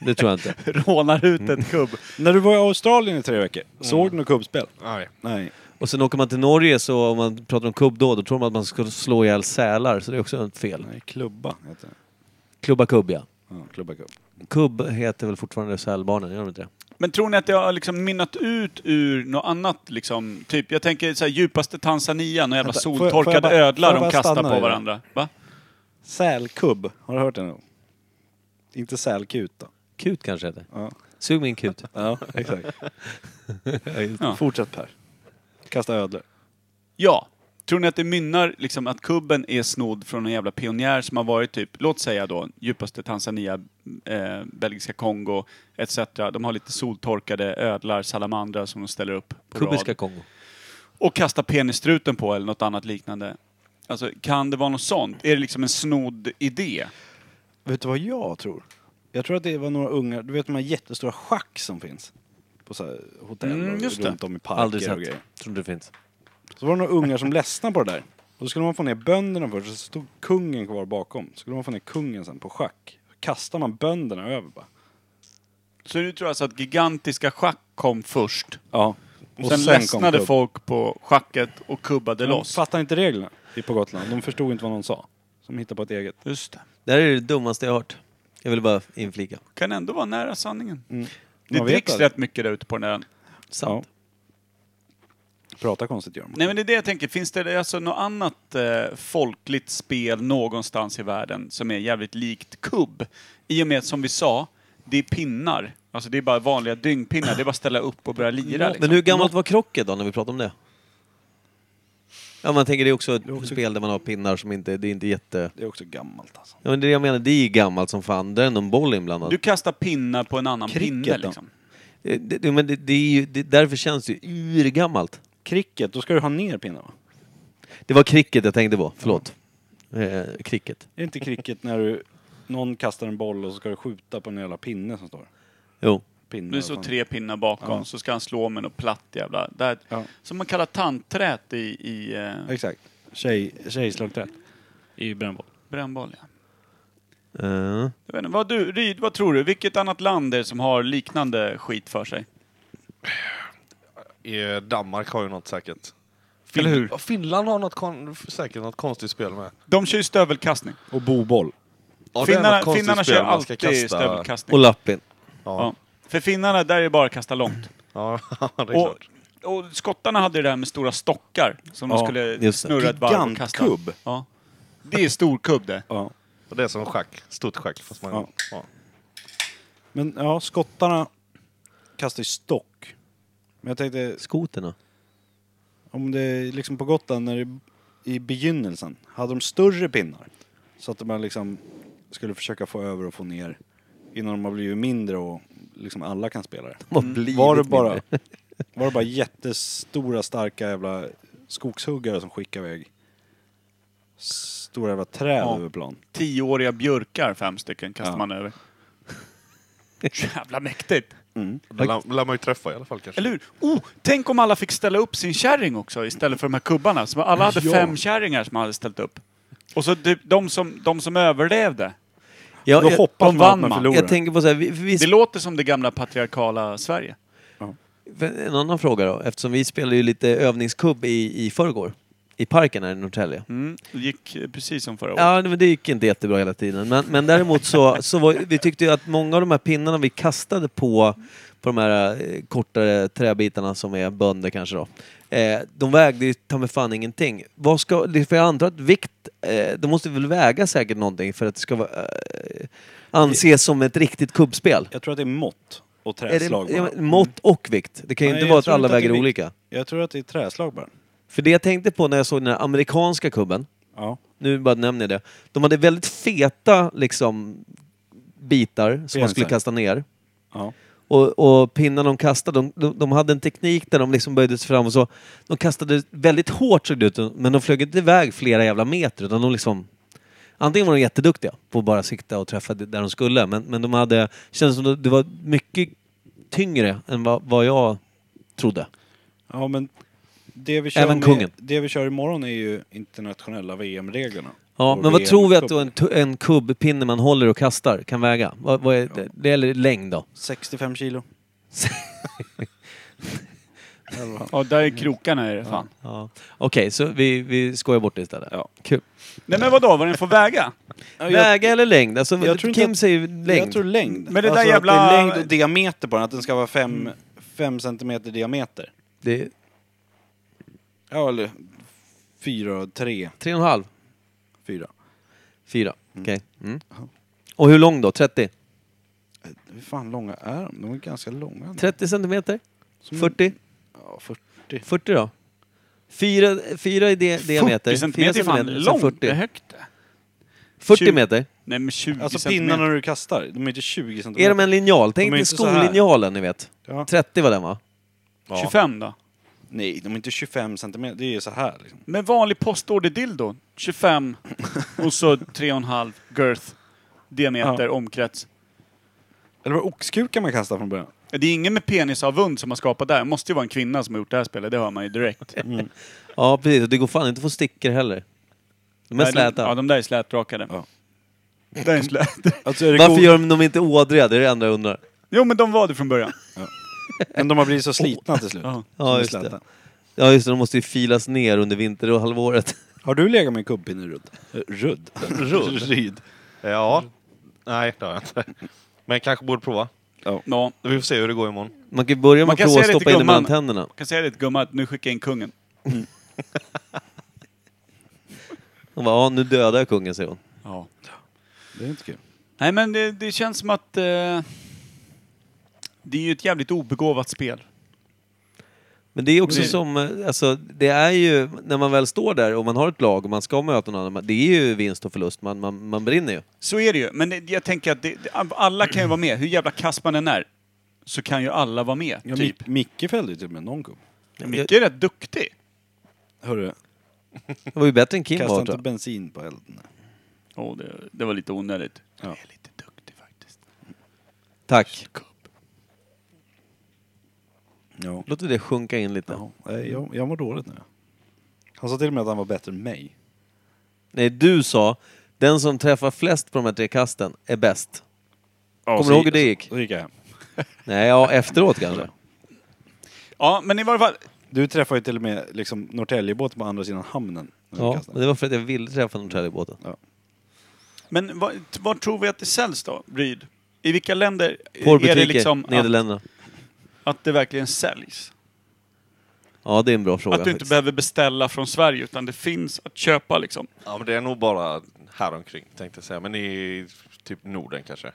Speaker 2: Det tror jag inte.
Speaker 4: Rånar ut ett kubb.
Speaker 1: När du var i Australien i tre veckor,
Speaker 2: Mm.
Speaker 1: såg du något kubbspel?
Speaker 3: Nej.
Speaker 1: Nej.
Speaker 2: Och sen åker man till Norge så om man pratar om kubb då, då tror man att man ska slå ihjäl sälar, så det är också ett fel.
Speaker 1: Nej, klubba heter det.
Speaker 2: Klubba kubb ja.
Speaker 1: Ja, klubba kubb.
Speaker 2: Kubb heter väl fortfarande sälbarnen, gör de inte det?
Speaker 4: Men tror ni att det har liksom mynnat ut ur något annat? Liksom, typ, jag tänker så här, djupaste Tanzania, några jävla
Speaker 1: Vänta, får jag-
Speaker 4: soltorkade
Speaker 1: får jag bara-
Speaker 4: ödlar
Speaker 1: får jag
Speaker 4: de
Speaker 1: bara
Speaker 4: kastar
Speaker 1: stanna
Speaker 4: på
Speaker 1: i det?
Speaker 4: varandra. Va?
Speaker 1: Sälkubb, har du hört det? någon? Inte sälkuta.
Speaker 2: Kut kanske heter.
Speaker 1: Ja.
Speaker 2: Sug min kut.
Speaker 1: Ja, exakt.
Speaker 4: Ja.
Speaker 1: Fortsätt Per. Kasta ödlor.
Speaker 4: ja. Tror ni att det mynnar liksom att kubben är snodd från en jävla pionjär som har varit typ, låt säga då, djupaste Tanzania, eh, belgiska Kongo etc. De har lite soltorkade ödlar, salamandrar som de ställer upp på
Speaker 2: Kubiska
Speaker 4: rad.
Speaker 2: Kongo.
Speaker 4: Och kasta penistruten på eller något annat liknande. Alltså, kan det vara något sånt? Är det liksom en snodd idé?
Speaker 1: Vet du vad jag tror? Jag tror att det var några ungar, du vet de här jättestora schack som finns? på så här hotell
Speaker 4: Mm,
Speaker 1: och
Speaker 4: just det.
Speaker 1: runt om i parker
Speaker 2: Aldrig
Speaker 1: och
Speaker 2: sett.
Speaker 1: grejer.
Speaker 2: Tror inte det finns.
Speaker 1: Så var det några ungar som ledsnade på det där. Och då skulle man få ner bönderna först, så stod kungen kvar bakom. Så skulle man få ner kungen sen på schack. Så kastar man bönderna över bara.
Speaker 4: Så nu tror jag alltså att gigantiska schack kom först.
Speaker 1: Ja.
Speaker 4: Och sen, ledsnade folk på schacket och kubbade
Speaker 1: De
Speaker 4: loss.
Speaker 1: fattar inte reglerna i- på Gotland. De förstod inte vad någon sa. Som hittade på ett eget.
Speaker 4: Just det.
Speaker 2: Det här är det dummaste jag har hört. Jag vill bara inflika.
Speaker 4: Kan ändå vara nära sanningen. Det
Speaker 1: Mm. Man vet
Speaker 4: dricks
Speaker 1: aldrig.
Speaker 4: rätt mycket där ute på den ön.
Speaker 2: Sant.
Speaker 1: Prata konstigt gör man.
Speaker 4: Nej men det är det jag tänker, finns det alltså något annat eh, folkligt spel någonstans i världen som är jävligt likt kubb? I och med att som vi sa, det är pinnar. Alltså det är bara vanliga dyngpinnar, det är bara att ställa upp och börja lira liksom.
Speaker 2: Men hur gammalt var krocket då, när vi pratade om det? Ja, man tänker det är också ett spel där man har pinnar som inte, det är inte jätte...
Speaker 1: Det är också gammalt alltså.
Speaker 2: Ja, men det är det jag menar, det är gammalt som fan. Det är ändå en boll inblandad. Eh,
Speaker 4: Du kastar pinnar på en annan
Speaker 1: Cricket
Speaker 4: pinne
Speaker 1: då?
Speaker 4: liksom.
Speaker 2: Det, det, men det, det är ju, det, därför känns det ju urgammalt.
Speaker 1: Cricket, då ska du ha ner pinnar va?
Speaker 2: Det var cricket jag tänkte på, förlåt. Eh, cricket.
Speaker 1: Är det inte cricket när du... Någon kastar en boll och så ska du skjuta på en jävla pinne som står.
Speaker 2: Jo.
Speaker 1: Pinne.
Speaker 4: Nu står tre pinnar bakom,
Speaker 1: Ja.
Speaker 4: så ska han slå med något platt jävla... Där,
Speaker 1: Ja.
Speaker 4: Som man kallar tandträt i, i eh,
Speaker 1: Exakt. Tjej, tjejslagträ. I brännboll.
Speaker 4: brännboll. Ja.
Speaker 2: Eh.
Speaker 4: Jag vet inte, vad, du, Ryd, vad tror du? Vilket annat land är det som har liknande skit för sig?
Speaker 3: I Danmark har ju något säkert.
Speaker 4: Eller hur?
Speaker 3: Ja, Finland har något kon- säkert något konstigt spel med.
Speaker 4: De kör ju stövelkastning.
Speaker 1: Och boboll.
Speaker 3: Ja, det är något
Speaker 4: Finnarna,
Speaker 3: konstigt
Speaker 4: finnarna
Speaker 3: spel,
Speaker 4: kör
Speaker 3: man ska
Speaker 4: alltid
Speaker 3: kasta-
Speaker 4: stövelkastning.
Speaker 2: Och lappin.
Speaker 4: ja.
Speaker 3: Ja,
Speaker 4: För finnarna, där är det bara att kasta långt.
Speaker 3: ja det är
Speaker 4: och,
Speaker 3: klart.
Speaker 4: och skottarna hade det där med stora stockar som de
Speaker 1: Ja,
Speaker 4: skulle
Speaker 2: just det.
Speaker 4: snurra ett varv och kasta.
Speaker 1: Gigantkubb.
Speaker 4: Ja. Det är stor kubb det.
Speaker 1: Ja.
Speaker 3: Och det är som schack. Stort schack. Fast man,
Speaker 1: Ja.
Speaker 3: ja.
Speaker 1: Men ja, skottarna kastar ju stock. Men jag tänkte,
Speaker 2: Skoterna.
Speaker 1: om det är liksom på Gotland när det, i begynnelsen, hade de större pinnar? Så att man liksom skulle försöka få över och få ner innan de har blivit mindre och liksom alla kan spela det.
Speaker 2: De har blivit
Speaker 1: Var det bara,
Speaker 2: mindre.
Speaker 1: var det bara jättestora starka jävla skogshuggare som skickade iväg stora jävla träd
Speaker 4: Ja.
Speaker 1: över plan?
Speaker 4: Tioåriga björkar, fem stycken, kastar
Speaker 1: Ja.
Speaker 4: man över. Jävla mäktigt!
Speaker 3: Det lär, lär man ju träffa i alla fall kanske.
Speaker 4: Eller hur? Oh, tänk om alla fick ställa upp sin kärring också istället för de här kubbarna. Så alla hade fem kärringar som hade ställt upp. Och så typ de som, de som överlevde.
Speaker 2: Ja,
Speaker 1: Då
Speaker 2: jag-
Speaker 1: hoppas
Speaker 4: de
Speaker 1: man att
Speaker 4: vann
Speaker 1: man
Speaker 4: man.
Speaker 1: förlorar.
Speaker 2: Jag tänker på så här, vi, vi,
Speaker 4: Det låter som det gamla patriarkala Sverige.
Speaker 2: en annan fråga då, eftersom vi spelade ju lite övningskubb i, i förrgår. I parken här i Norrtälje.
Speaker 4: Mm. Det gick eh, precis som förra året.
Speaker 2: Ja, men det gick inte jättebra hela tiden. Men, men däremot så, så var, vi tyckte ju att många av de här pinnarna vi kastade på, på de här eh, kortare träbitarna som är bönder kanske då. Eh, de vägde ju ta med fan ingenting. Vad ska, det- för jag antar att vikt, eh, det måste väl väga säkert någonting för att det ska vara, eh, anses som ett riktigt kubbspel.
Speaker 1: Jag tror att det är mått och
Speaker 2: Är
Speaker 1: träslag
Speaker 2: det, ja,
Speaker 1: bara.
Speaker 2: men mått och vikt. Det kan ju
Speaker 1: Nej,
Speaker 2: inte
Speaker 1: jag
Speaker 2: vara att
Speaker 1: tror
Speaker 2: alla
Speaker 1: inte att det
Speaker 2: väger
Speaker 1: är vikt.
Speaker 2: olika.
Speaker 1: Jag tror att det är träslag bara.
Speaker 2: För det jag tänkte på när jag såg den här amerikanska kubben,
Speaker 1: Ja.
Speaker 2: nu bara nämner jag det. De hade väldigt feta liksom, bitar som
Speaker 1: Penisar.
Speaker 2: man skulle kasta ner.
Speaker 1: ja.
Speaker 2: Och, och pinnarna de kastade, de, de, de hade en teknik där de liksom böjde sig fram och så. De kastade väldigt hårt såg det ut, men de flög inte iväg flera jävla meter utan de liksom... Antingen var de jätteduktiga på att bara sikta och träffa det- där de skulle, men, men de hade... kändes som att det var mycket tyngre än vad, vad jag trodde.
Speaker 1: Ja, men det vi, kör
Speaker 2: Även
Speaker 1: med,
Speaker 2: kungen.
Speaker 1: det vi kör imorgon är ju internationella VM-reglerna.
Speaker 2: Ja,
Speaker 1: Och
Speaker 2: men vad tror vi att
Speaker 1: VM-cup.
Speaker 2: då en, tu- en kubbpinne man håller och kastar kan väga? Vad, vad är det? det gäller längd då?
Speaker 1: 65 kilo.
Speaker 4: Ja, där är krokarna är det fan.
Speaker 2: Ja. Okej, så vi, vi skojar bort det istället.
Speaker 1: Ja.
Speaker 2: Kul.
Speaker 4: Nej men vadå, vad den får väga?
Speaker 2: Väga eller längd? Alltså,
Speaker 1: Jag tror inte
Speaker 2: Kim
Speaker 1: att-
Speaker 2: säger ju längd.
Speaker 1: Jag tror längd.
Speaker 4: Men det där
Speaker 1: alltså
Speaker 4: jävla-
Speaker 1: Att det Mm. är längd och diameter på den, att den ska vara 5 fem centimeter diameter.
Speaker 2: Det är
Speaker 1: Ja, eller 4, 3,
Speaker 2: tre och en halv.
Speaker 1: 4.
Speaker 2: Fyra. Okej. Mm. Och hur lång då? 30?
Speaker 1: Hur fan långa är de? De är ganska långa.
Speaker 2: 30 centimeter?
Speaker 1: Som en-
Speaker 2: 40?
Speaker 1: Ja, 40.
Speaker 2: 40 då? Fyra, fyra i di- diameter.
Speaker 4: 40 centimeter är
Speaker 2: Fyra
Speaker 4: fan
Speaker 2: centimeter, sen
Speaker 4: långt. Det är
Speaker 2: 40.
Speaker 4: högt det.
Speaker 2: 40
Speaker 4: Tjugo-
Speaker 2: meter.
Speaker 4: Nej men 20
Speaker 1: Alltså pinnarna
Speaker 4: centimeter.
Speaker 1: du kastar, de är inte 20 centimeter.
Speaker 2: Är de en linjal? Tänk
Speaker 1: är
Speaker 2: dig
Speaker 1: inte så här.
Speaker 2: skollinjalen, ni vet.
Speaker 1: Ja.
Speaker 2: 30 var den va?
Speaker 3: Ja.
Speaker 4: 25 då?
Speaker 1: Nej, de är inte 25 centimeter. Det är ju så här liksom.
Speaker 4: Men vanlig postorder-dildo? 25 och så 3,5 girth. Diameter, omkrets.
Speaker 1: Eller var det oxkuka man kastade från början?
Speaker 4: Det är ingen med penisavund som har skapat det här. Det måste ju vara en kvinna som har gjort det här spelet, det hör man ju direkt.
Speaker 2: Ja, precis. Och det går fan inte att få stickor heller. De är
Speaker 4: Nej, de-
Speaker 2: släta.
Speaker 4: Ja, de där är slätrakade.
Speaker 1: Ja.
Speaker 4: Det är en slät.
Speaker 1: Alltså, är det
Speaker 2: Varför
Speaker 1: god-
Speaker 2: gör de dem inte ådriga? Det är det enda jag undrar.
Speaker 4: Jo, men de var det från början.
Speaker 1: Men de har blivit så slitna till slut.
Speaker 4: Ja.
Speaker 1: Som är
Speaker 2: just det.
Speaker 1: släta.
Speaker 2: Ja, just det. De måste ju filas ner under vinter och halvåret.
Speaker 1: Har du legat med en kubbpinne Rudd? Eh, Rudd? Rudd? Ryd.
Speaker 3: Ja. Nej, det har jag inte. Men jag kanske borde prova.
Speaker 4: Ja.
Speaker 3: Vi får se hur det går imorgon.
Speaker 2: Man kan ju börja
Speaker 4: Man
Speaker 2: med
Speaker 4: kan
Speaker 2: att prova att
Speaker 4: säga det till
Speaker 2: stoppa in dem mellan
Speaker 4: gumman.
Speaker 2: tänderna.
Speaker 4: Jag kan säga det till gumman att nu skickar jag in kungen.
Speaker 2: Hon bara, ja nu dödar jag kungen, säger hon.
Speaker 4: Ja.
Speaker 1: Det är inte kul.
Speaker 4: Nej, men det, det känns som att eh, det är ju ett jävligt obegåvat spel.
Speaker 2: Men det är också
Speaker 4: Det-
Speaker 2: som, eh, alltså det är ju, när man väl står där och man har ett lag och man ska möta någon annan, det är ju vinst och förlust, man, man, man brinner ju.
Speaker 4: Så är det ju. Men det, jag tänker att det, det- alla kan ju vara med. Hur jävla kass man än är så kan ju alla vara med.
Speaker 1: Ja,
Speaker 4: typ.
Speaker 1: Mi- Micke fällde ju till och med någon kubb.
Speaker 4: Micke är rätt duktig.
Speaker 1: Hörru,
Speaker 2: Det var ju bättre än Kim
Speaker 1: kasta
Speaker 2: var
Speaker 1: inte
Speaker 2: tror jag.
Speaker 1: bensin på elden.
Speaker 4: Åh, det, det var lite onödigt.
Speaker 1: Ja.
Speaker 4: Jag är lite duktig faktiskt.
Speaker 2: Tack.
Speaker 1: Ja.
Speaker 2: Låter det sjunka in lite.
Speaker 1: Ja, nej, jag, jag mår dåligt nu. Han sa till och med att han var bättre än mig.
Speaker 2: Nej, du sa, den som träffar flest på de här tre kasten är bäst. Kommer
Speaker 1: så
Speaker 2: du ihåg hur det gick?
Speaker 1: Så, så gick jag hem.
Speaker 2: Nej, ja efteråt kanske.
Speaker 4: Ja, men i varje fall.
Speaker 1: Du träffade ju till och med liksom Norrtäljebåten på andra sidan hamnen. när du
Speaker 2: Ja,
Speaker 1: kastade.
Speaker 2: men det var för att jag ville träffa Norrtäljebåten.
Speaker 4: Men vad, vad tror vi att det säljs då, Ryd? I vilka länder är det
Speaker 2: Porrbutiker,
Speaker 4: liksom att,
Speaker 2: Nederländerna.
Speaker 4: att det verkligen säljs?
Speaker 2: Ja, det är en bra fråga
Speaker 4: Att du inte
Speaker 2: faktiskt.
Speaker 4: behöver beställa från Sverige utan det finns att köpa liksom.
Speaker 3: Ja, men det är nog bara här omkring tänkte jag säga. Men i typ Norden kanske.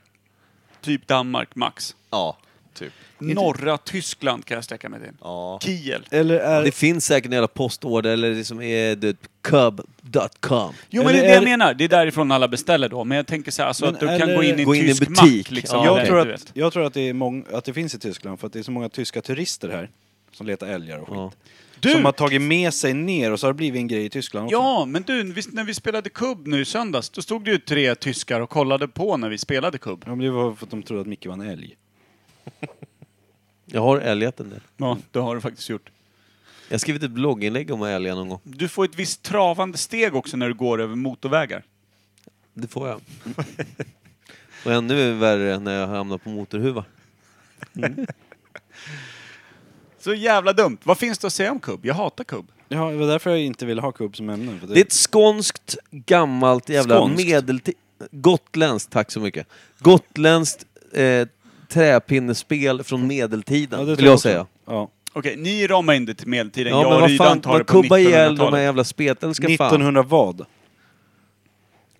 Speaker 4: Typ Danmark max.
Speaker 3: Ja, typ.
Speaker 4: Norra Tyskland kan jag sträcka mig till.
Speaker 3: Ja.
Speaker 4: Kiel.
Speaker 1: Eller är...
Speaker 2: Det finns säkert en jävla postorder eller det som är du vet, cub.com.
Speaker 4: Jo men det
Speaker 1: Eller
Speaker 4: är det jag
Speaker 1: är-
Speaker 4: menar, det är därifrån alla beställer då. Men jag tänker så här, alltså
Speaker 1: Men
Speaker 4: att du
Speaker 1: eller-
Speaker 4: kan gå in i en
Speaker 2: Gå in i
Speaker 4: tysk
Speaker 2: butik.
Speaker 4: mack liksom.
Speaker 2: Ja,
Speaker 1: jag,
Speaker 2: okej.
Speaker 1: tror
Speaker 4: du
Speaker 1: att,
Speaker 4: vet.
Speaker 1: jag tror att det, är mång, att det finns i Tyskland för att det är så många tyska turister här som letar älgar och skit.
Speaker 2: Ja.
Speaker 1: Som
Speaker 4: Du!
Speaker 1: har tagit med sig ner och så har det blivit en grej i Tyskland också.
Speaker 4: Ja, men du, visst, när vi spelade kubb nu i söndags, då stod det ju tre tyskar och kollade på när vi spelade kubb.
Speaker 1: Ja, men det var för att de trodde att Micke var en älg.
Speaker 2: Jag har älgat en del.
Speaker 4: Ja, det har du faktiskt gjort.
Speaker 2: Jag har skrivit ett blogginlägg om älgar någon gång.
Speaker 4: Du får ett visst travande steg också när du går över motorvägar.
Speaker 2: Det får jag. Och ännu värre när jag hamnar på motorhuva.
Speaker 4: Så jävla dumt. Vad finns det att säga om kubb? Jag hatar kubb.
Speaker 1: Ja, det var därför jag inte ville ha kubb som ämne. För det,
Speaker 2: Det är ett skånskt, gammalt jävla
Speaker 1: Skånskt?
Speaker 2: medeltid... Gotländskt, tack så mycket. Gotländskt eh, träpinnespel från medeltiden,
Speaker 1: Ja, det
Speaker 2: vill
Speaker 1: tror
Speaker 2: jag
Speaker 1: också.
Speaker 2: säga.
Speaker 1: Ja.
Speaker 4: Okej, ni ramar in det till medeltiden.
Speaker 2: Ja,
Speaker 4: jag
Speaker 2: men
Speaker 4: och
Speaker 2: vad
Speaker 4: Rydan
Speaker 2: fan,
Speaker 4: tar det
Speaker 2: man
Speaker 4: på
Speaker 2: kubbar ihjäl de här
Speaker 4: 1900-talet.
Speaker 2: jävla spetälska fan.
Speaker 1: 1900 vad?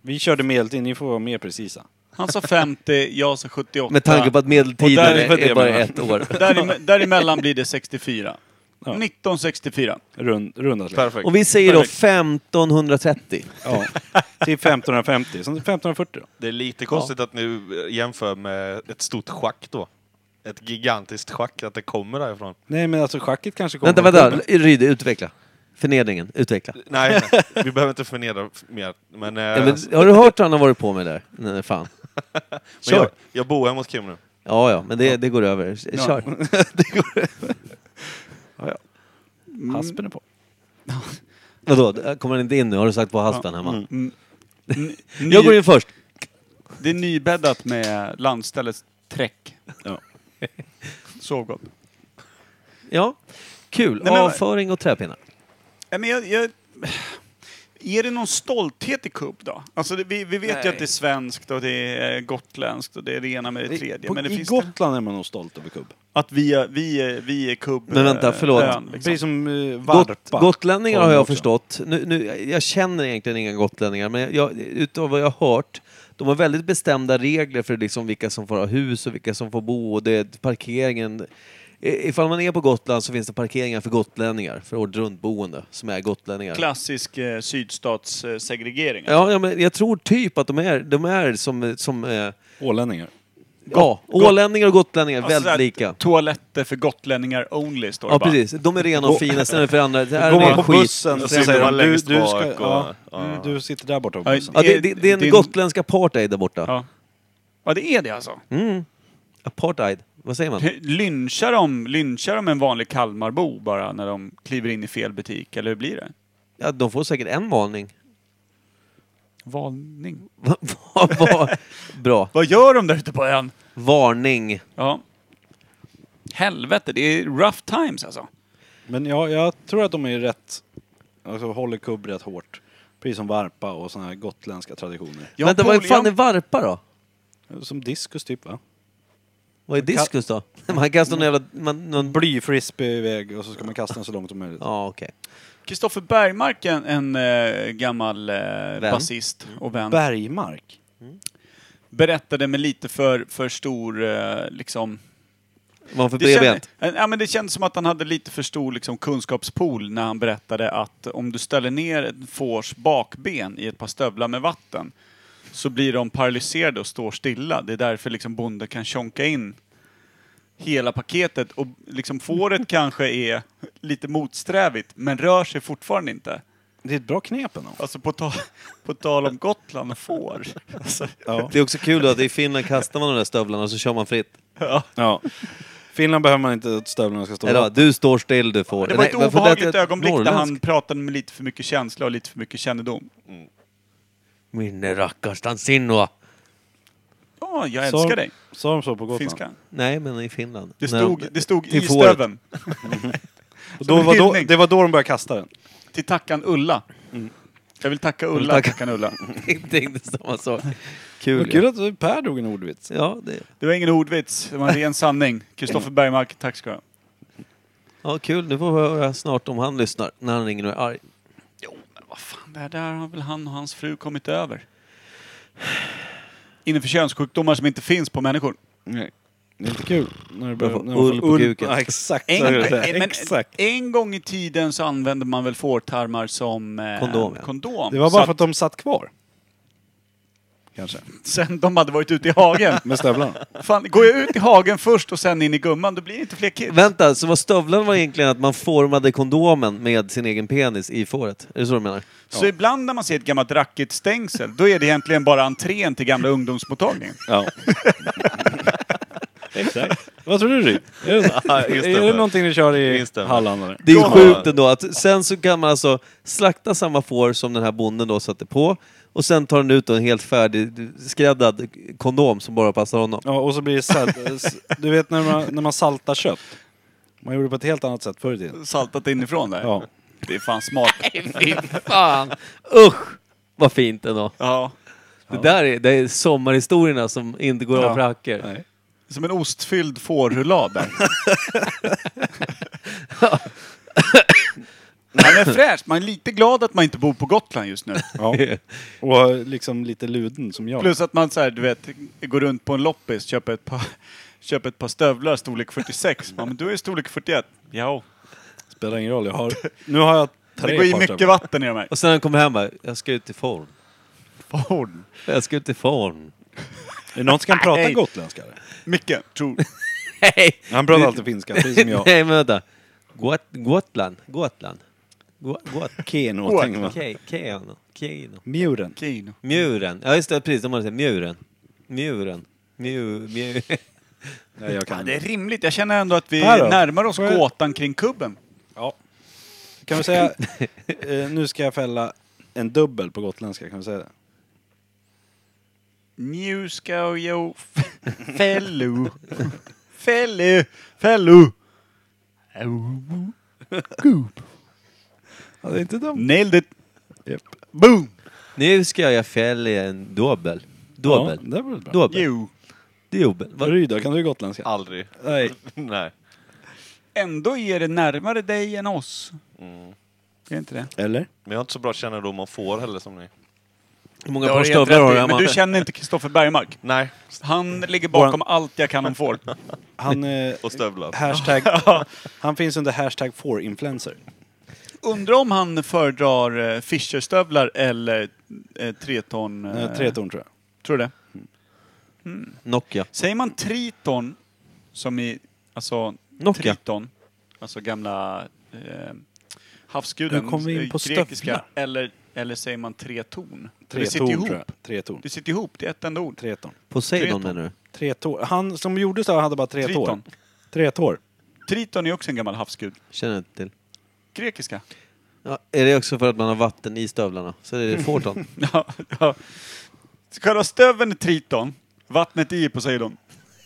Speaker 1: Vi körde medeltid, ni får vara mer precisa.
Speaker 4: Han sa 50, jag sa 78.
Speaker 2: Med tanke på att medeltiden
Speaker 4: Och där-
Speaker 2: är,
Speaker 1: för det
Speaker 2: är bara
Speaker 1: menar jag.
Speaker 2: ett år.
Speaker 4: Därime- däremellan blir det 64.
Speaker 1: Ja.
Speaker 4: 1964.
Speaker 1: Rund, runda släpp.
Speaker 3: Typ. Perfekt.
Speaker 2: Och vi säger då
Speaker 4: Perfekt.
Speaker 2: 1530.
Speaker 1: Ja. Till 1550, som 1540 då.
Speaker 3: Det är lite konstigt att nu eh, jämför med ett stort schack då. Ett gigantiskt schack, att det kommer därifrån.
Speaker 1: Nej men alltså schacket kanske kommer
Speaker 2: Vänta,
Speaker 1: från
Speaker 2: vänta.
Speaker 1: kubben.
Speaker 2: Ryde, utveckla. Förnedringen, utveckla.
Speaker 3: Nej, nej, vi behöver inte förnedra mer. Men, eh,
Speaker 2: Ja, men, har du hört vad han har varit på med där? Nej, fan.
Speaker 3: men jag,
Speaker 2: Kör!
Speaker 3: jag bor hemma hos Kim nu.
Speaker 2: Ja, ja, men det, det går över. Kör.
Speaker 1: Haspen är på.
Speaker 2: Vadå, kommer han inte in nu? Har du sagt på haspen hemma?
Speaker 4: Ny,
Speaker 2: Jag går in först.
Speaker 4: Det är nybäddat med landställets träck.
Speaker 1: Ja.
Speaker 4: Sovgott.
Speaker 2: Ja, kul.
Speaker 4: Nej, men-
Speaker 2: Avföring och träpinnar.
Speaker 4: Nej, men jag, jag, är det någon stolthet i kubb då? Alltså det, vi, vi vet ju att det är svenskt och det är gotländskt och det är det ena med det tredje.
Speaker 1: På,
Speaker 4: men det
Speaker 1: I
Speaker 4: finns det,
Speaker 1: Gotland är man nog stolt över kubb.
Speaker 4: att vi, är- vi, är- vi är kubb...
Speaker 2: Men vänta,
Speaker 4: eh,
Speaker 2: förlåt.
Speaker 4: ön, liksom.
Speaker 1: Precis som eh,
Speaker 2: Gott,
Speaker 1: varpa.
Speaker 2: gotlänningar har
Speaker 1: de
Speaker 2: jag
Speaker 1: också.
Speaker 2: förstått. Nu, nu, jag känner egentligen inga gotlänningar, men jag, utav vad jag har hört, de har väldigt bestämda regler för liksom vilka som får ha hus och vilka som får bo och det, parkeringen. I- Ifall man är på Gotland så finns det parkeringar för gotlänningar, för året runt-boende som är gotlänningar.
Speaker 4: Klassisk eh, sydstatssegregering.
Speaker 2: Ja, ja, men jag tror typ att de är, de är som, som eh,
Speaker 1: Ålänningar.
Speaker 2: ja, ålänningar och gotlänningar,
Speaker 4: Alltså
Speaker 2: väldigt
Speaker 4: sådär,
Speaker 2: lika.
Speaker 4: Toaletter för gotlänningar only, står det
Speaker 2: Ja,
Speaker 4: bara.
Speaker 2: precis. De är rena och fina, sen är det för andra. Det här
Speaker 1: Går man
Speaker 2: är
Speaker 1: på
Speaker 2: ren skit.
Speaker 1: bussen så
Speaker 3: sitter
Speaker 1: säger
Speaker 3: man
Speaker 1: de du,
Speaker 3: längst
Speaker 1: du, ska,
Speaker 3: bak och-
Speaker 1: Eh, ja, Mm,
Speaker 3: ja.
Speaker 1: du sitter där borta på
Speaker 4: Ja,
Speaker 1: bussen.
Speaker 2: Ja, det, det, det är en
Speaker 4: Din-
Speaker 2: gotländsk apartheid där borta.
Speaker 4: Ja. ja, det är det alltså.
Speaker 2: Apartheid. Vad säger man?
Speaker 4: Lynchar de, lynchar de en vanlig Kalmarbo bara när de kliver in i fel butik, eller hur blir det?
Speaker 2: Ja, de får säkert en varning.
Speaker 4: Varning.
Speaker 2: Va- va- va- Bra.
Speaker 4: Vad gör de där ute på ön?
Speaker 2: Varning.
Speaker 4: Ja. Helvete, det är rough times alltså.
Speaker 1: Men jag, jag tror att de är rätt, alltså håller kubb rätt hårt. Precis som varpa och såna här gotländska traditioner.
Speaker 4: Jag
Speaker 2: Vänta,
Speaker 4: har
Speaker 2: vad
Speaker 4: pol-
Speaker 2: fan är
Speaker 4: jag-
Speaker 2: varpa då?
Speaker 1: Som diskus typ va?
Speaker 2: Vad är diskus då? Man kastar någon jävla... Man, någon...
Speaker 1: Blyfrisbee iväg och så ska man kasta den så långt som möjligt.
Speaker 2: Ja, okej.
Speaker 4: Kristoffer Bergmark, en, en eh, gammal eh, basist och vän,
Speaker 1: Bergmark?
Speaker 4: berättade med lite för, för stor eh, liksom,
Speaker 2: Man får
Speaker 4: Det kändes,
Speaker 2: bredbent.
Speaker 4: ja, men det kändes som att han hade lite för stor liksom, kunskapspool när han berättade att om du ställer ner en fårs bakben i ett par stövlar med vatten så blir de paralyserade och står stilla. Det är därför liksom bonden kan tjonka in hela paketet och liksom fåret kanske är lite motsträvigt men rör sig fortfarande inte.
Speaker 1: Det är ett bra knep ändå.
Speaker 4: Alltså på, ta- på tal om Gotland och får. Alltså,
Speaker 1: Ja.
Speaker 2: Det är också kul då att i Finland kastar man de där stövlarna och så kör man fritt.
Speaker 1: ja. Finland behöver man inte att stövlarna ska stå
Speaker 2: Eller då, du står still du får.
Speaker 4: det var ett
Speaker 2: Nej, varför lät
Speaker 4: obehagligt
Speaker 2: jag
Speaker 4: ögonblick där han
Speaker 2: norrländsk?
Speaker 4: pratade med lite för mycket känsla och lite för mycket kännedom.
Speaker 2: Minne rackars tan sinua.
Speaker 4: Ja, jag
Speaker 1: Så-
Speaker 4: älskar dig.
Speaker 1: Sa de så på Gotland?
Speaker 4: Finska.
Speaker 2: Nej, men i Finland.
Speaker 4: Det
Speaker 2: När
Speaker 4: stod,
Speaker 2: de-
Speaker 4: det stod i
Speaker 2: till fåret.
Speaker 4: stöven.
Speaker 1: Och Då
Speaker 4: Som
Speaker 1: var då,
Speaker 4: hyllning.
Speaker 1: det var då de började kasta den.
Speaker 4: Till tackan Ulla.
Speaker 1: Mm.
Speaker 4: Jag vill tacka
Speaker 2: vill
Speaker 4: Ulla,
Speaker 2: tacka-
Speaker 4: tackan Ulla.
Speaker 2: Jag tänkte samma sak.
Speaker 1: Vad
Speaker 2: Kul.
Speaker 1: kul
Speaker 2: ju.
Speaker 1: att Per drog en ordvits.
Speaker 2: Ja, det,
Speaker 4: Det var ingen ordvits, det var en ren sanning. Kristoffer Bergmark, tack ska du ha.
Speaker 2: ja, kul. Nu får vi höra snart om han lyssnar. När han ringer och är arg.
Speaker 4: Vad fan, det här där har väl han och hans fru kommit över. Innanför könssjukdomar som inte finns på människor.
Speaker 1: Nej. Det är inte kul. När det
Speaker 2: får
Speaker 1: börjar- när man
Speaker 2: ull på kuken.
Speaker 1: Ja, exakt.
Speaker 4: En,
Speaker 1: så är det där.
Speaker 4: men,
Speaker 1: exakt.
Speaker 4: en gång i tiden så använde man väl fårtarmar som eh,
Speaker 2: Kondom, ja.
Speaker 4: kondom.
Speaker 1: Det var
Speaker 4: Så
Speaker 1: bara för att de satt kvar. Kanske.
Speaker 4: Sen de hade varit ute i hagen.
Speaker 1: Med stövlarna.
Speaker 4: Fan, går jag ut i hagen först och sen in i gumman, då blir det inte fler kids.
Speaker 2: Vänta, så vad stövlarna var egentligen att man formade kondomen med sin egen penis i fåret? Är det så du menar?
Speaker 4: Så ibland när man ser ett gammalt rackigt stängsel, då är det egentligen bara entrén till gamla ungdomsmottagningen.
Speaker 1: Ja. exakt. Vad tror du Ryd? Är det,
Speaker 3: Ja, just det.
Speaker 1: är det någonting du kör i
Speaker 3: Instämmer.
Speaker 1: Halland? Eller?
Speaker 2: Det är ju
Speaker 3: Ja.
Speaker 2: sjukt ändå att sen så kan man alltså slakta samma får som den här bonden då satte på och sen tar den ut då en helt färdig skräddad kondom som bara passar honom.
Speaker 1: Ja, och så blir det salt. s- Du vet när man, när man saltar kött. Man gjorde på ett helt annat sätt förr i tiden.
Speaker 4: Saltat inifrån där.
Speaker 1: Ja.
Speaker 4: Det är fan smart.
Speaker 2: Fy fan! Usch! Vad fint ändå.
Speaker 4: Ja.
Speaker 2: Det där är, det är sommarhistorierna som inte går
Speaker 4: Ja.
Speaker 2: av för hackor.
Speaker 1: Nej.
Speaker 4: Som en ostfylld fårrullad där. Man är fräsch, man är lite glad att man inte bor på Gotland just nu.
Speaker 1: Ja. Och liksom lite luden som jag.
Speaker 4: Plus att man så här, du vet, går runt på en loppis, köper ett par, köper ett par stövlar storlek 46. Ja, men du är i storlek 41. Ja.
Speaker 1: Spelar ingen roll. Jag har, nu har jag tre
Speaker 4: Det går i
Speaker 1: par
Speaker 4: mycket
Speaker 1: stövlar.
Speaker 4: vatten i de här.
Speaker 2: Och sen när han kommer hem bara, jag ska ut i form.
Speaker 4: Forn.
Speaker 2: Jag ska ut i form.
Speaker 1: Är det någon som kan prata
Speaker 4: Nej.
Speaker 1: gotländska? eller?
Speaker 4: Mycket, tror
Speaker 2: Nej!
Speaker 1: Han pratar alltid finska, precis som jag.
Speaker 2: Nej men vänta. Got, Gotland. Gotland. Got, got,
Speaker 1: Keno, tänker man.
Speaker 2: Ke- Keano. Keino.
Speaker 1: Muren.
Speaker 4: Kino.
Speaker 2: Muren. Ja just det, precis. De hade sagt muren. Muren. Mju, mju.
Speaker 1: Nej, jag
Speaker 4: Ja,
Speaker 1: kan
Speaker 4: det är rimligt. Jag känner ändå att vi
Speaker 1: Här då?
Speaker 4: närmar oss
Speaker 1: Får jag-
Speaker 4: gåtan kring kubben.
Speaker 1: Ja. Kan vi säga, eh, nu ska jag fälla en dubbel på gotländska, kan vi säga det?
Speaker 4: Nu ska jag f- fällu. Fällu. Fällu.
Speaker 1: Ja, det är inte dumt.
Speaker 4: Nailed it.
Speaker 1: Yep.
Speaker 4: Boom.
Speaker 2: Nu ska jag fälla en dubbel.
Speaker 1: Ja,
Speaker 2: Dubbel.
Speaker 1: det var väl bra.
Speaker 2: Dubbel.
Speaker 4: Jo.
Speaker 2: Dubbel. Vad-
Speaker 1: Ryd då, kan du gotländska?
Speaker 3: Aldrig.
Speaker 1: Nej.
Speaker 3: Nej.
Speaker 4: Ändå är det närmare dig än oss.
Speaker 1: Mm.
Speaker 4: Är det inte det?
Speaker 1: Eller?
Speaker 3: Men jag har inte så bra kännedom om får heller som ni.
Speaker 2: Hur många
Speaker 4: Det
Speaker 2: par
Speaker 4: har du
Speaker 2: stövlar
Speaker 4: helt
Speaker 2: har
Speaker 4: rätt i,
Speaker 2: du hemma?
Speaker 4: Men du känner inte Kristoffer Bergmark?
Speaker 3: Nej.
Speaker 4: Han ligger bakom allt jag kan om får.
Speaker 1: Han, eh,
Speaker 3: Och stövlar.
Speaker 1: hashtag, han finns under hashtag 4influencer.
Speaker 4: Undrar om han föredrar eh, Fischerstövlar eller eh, treton...
Speaker 1: Eh, Tretorn tror jag.
Speaker 4: Tror du det?
Speaker 2: Nokia.
Speaker 4: Säger man triton, som i, alltså
Speaker 2: Nokia.
Speaker 4: triton, alltså gamla eh, havsguden,
Speaker 1: Nu kom vi in
Speaker 4: eh,
Speaker 1: på
Speaker 4: grekiska,
Speaker 1: stövlar.
Speaker 4: eller, eller säger man treton? För det sitter
Speaker 1: Tretorn
Speaker 4: ihop.
Speaker 1: tror jag. Tretorn.
Speaker 4: Det sitter ihop, det är ett enda ord.
Speaker 1: Tretorn.
Speaker 2: Poseidon
Speaker 4: Treton.
Speaker 2: menar du?
Speaker 1: Tre tår. Han som gjorde så här hade bara tre
Speaker 4: Triton.
Speaker 1: tår. Tre tår.
Speaker 4: Triton är också en gammal havsgud.
Speaker 2: Känner inte till.
Speaker 4: Grekiska.
Speaker 2: Ja, är det också för att man har vatten i stövlarna? Så är det Forton.
Speaker 4: Ja, ja. Själva stöveln är Triton, vattnet i Poseidon.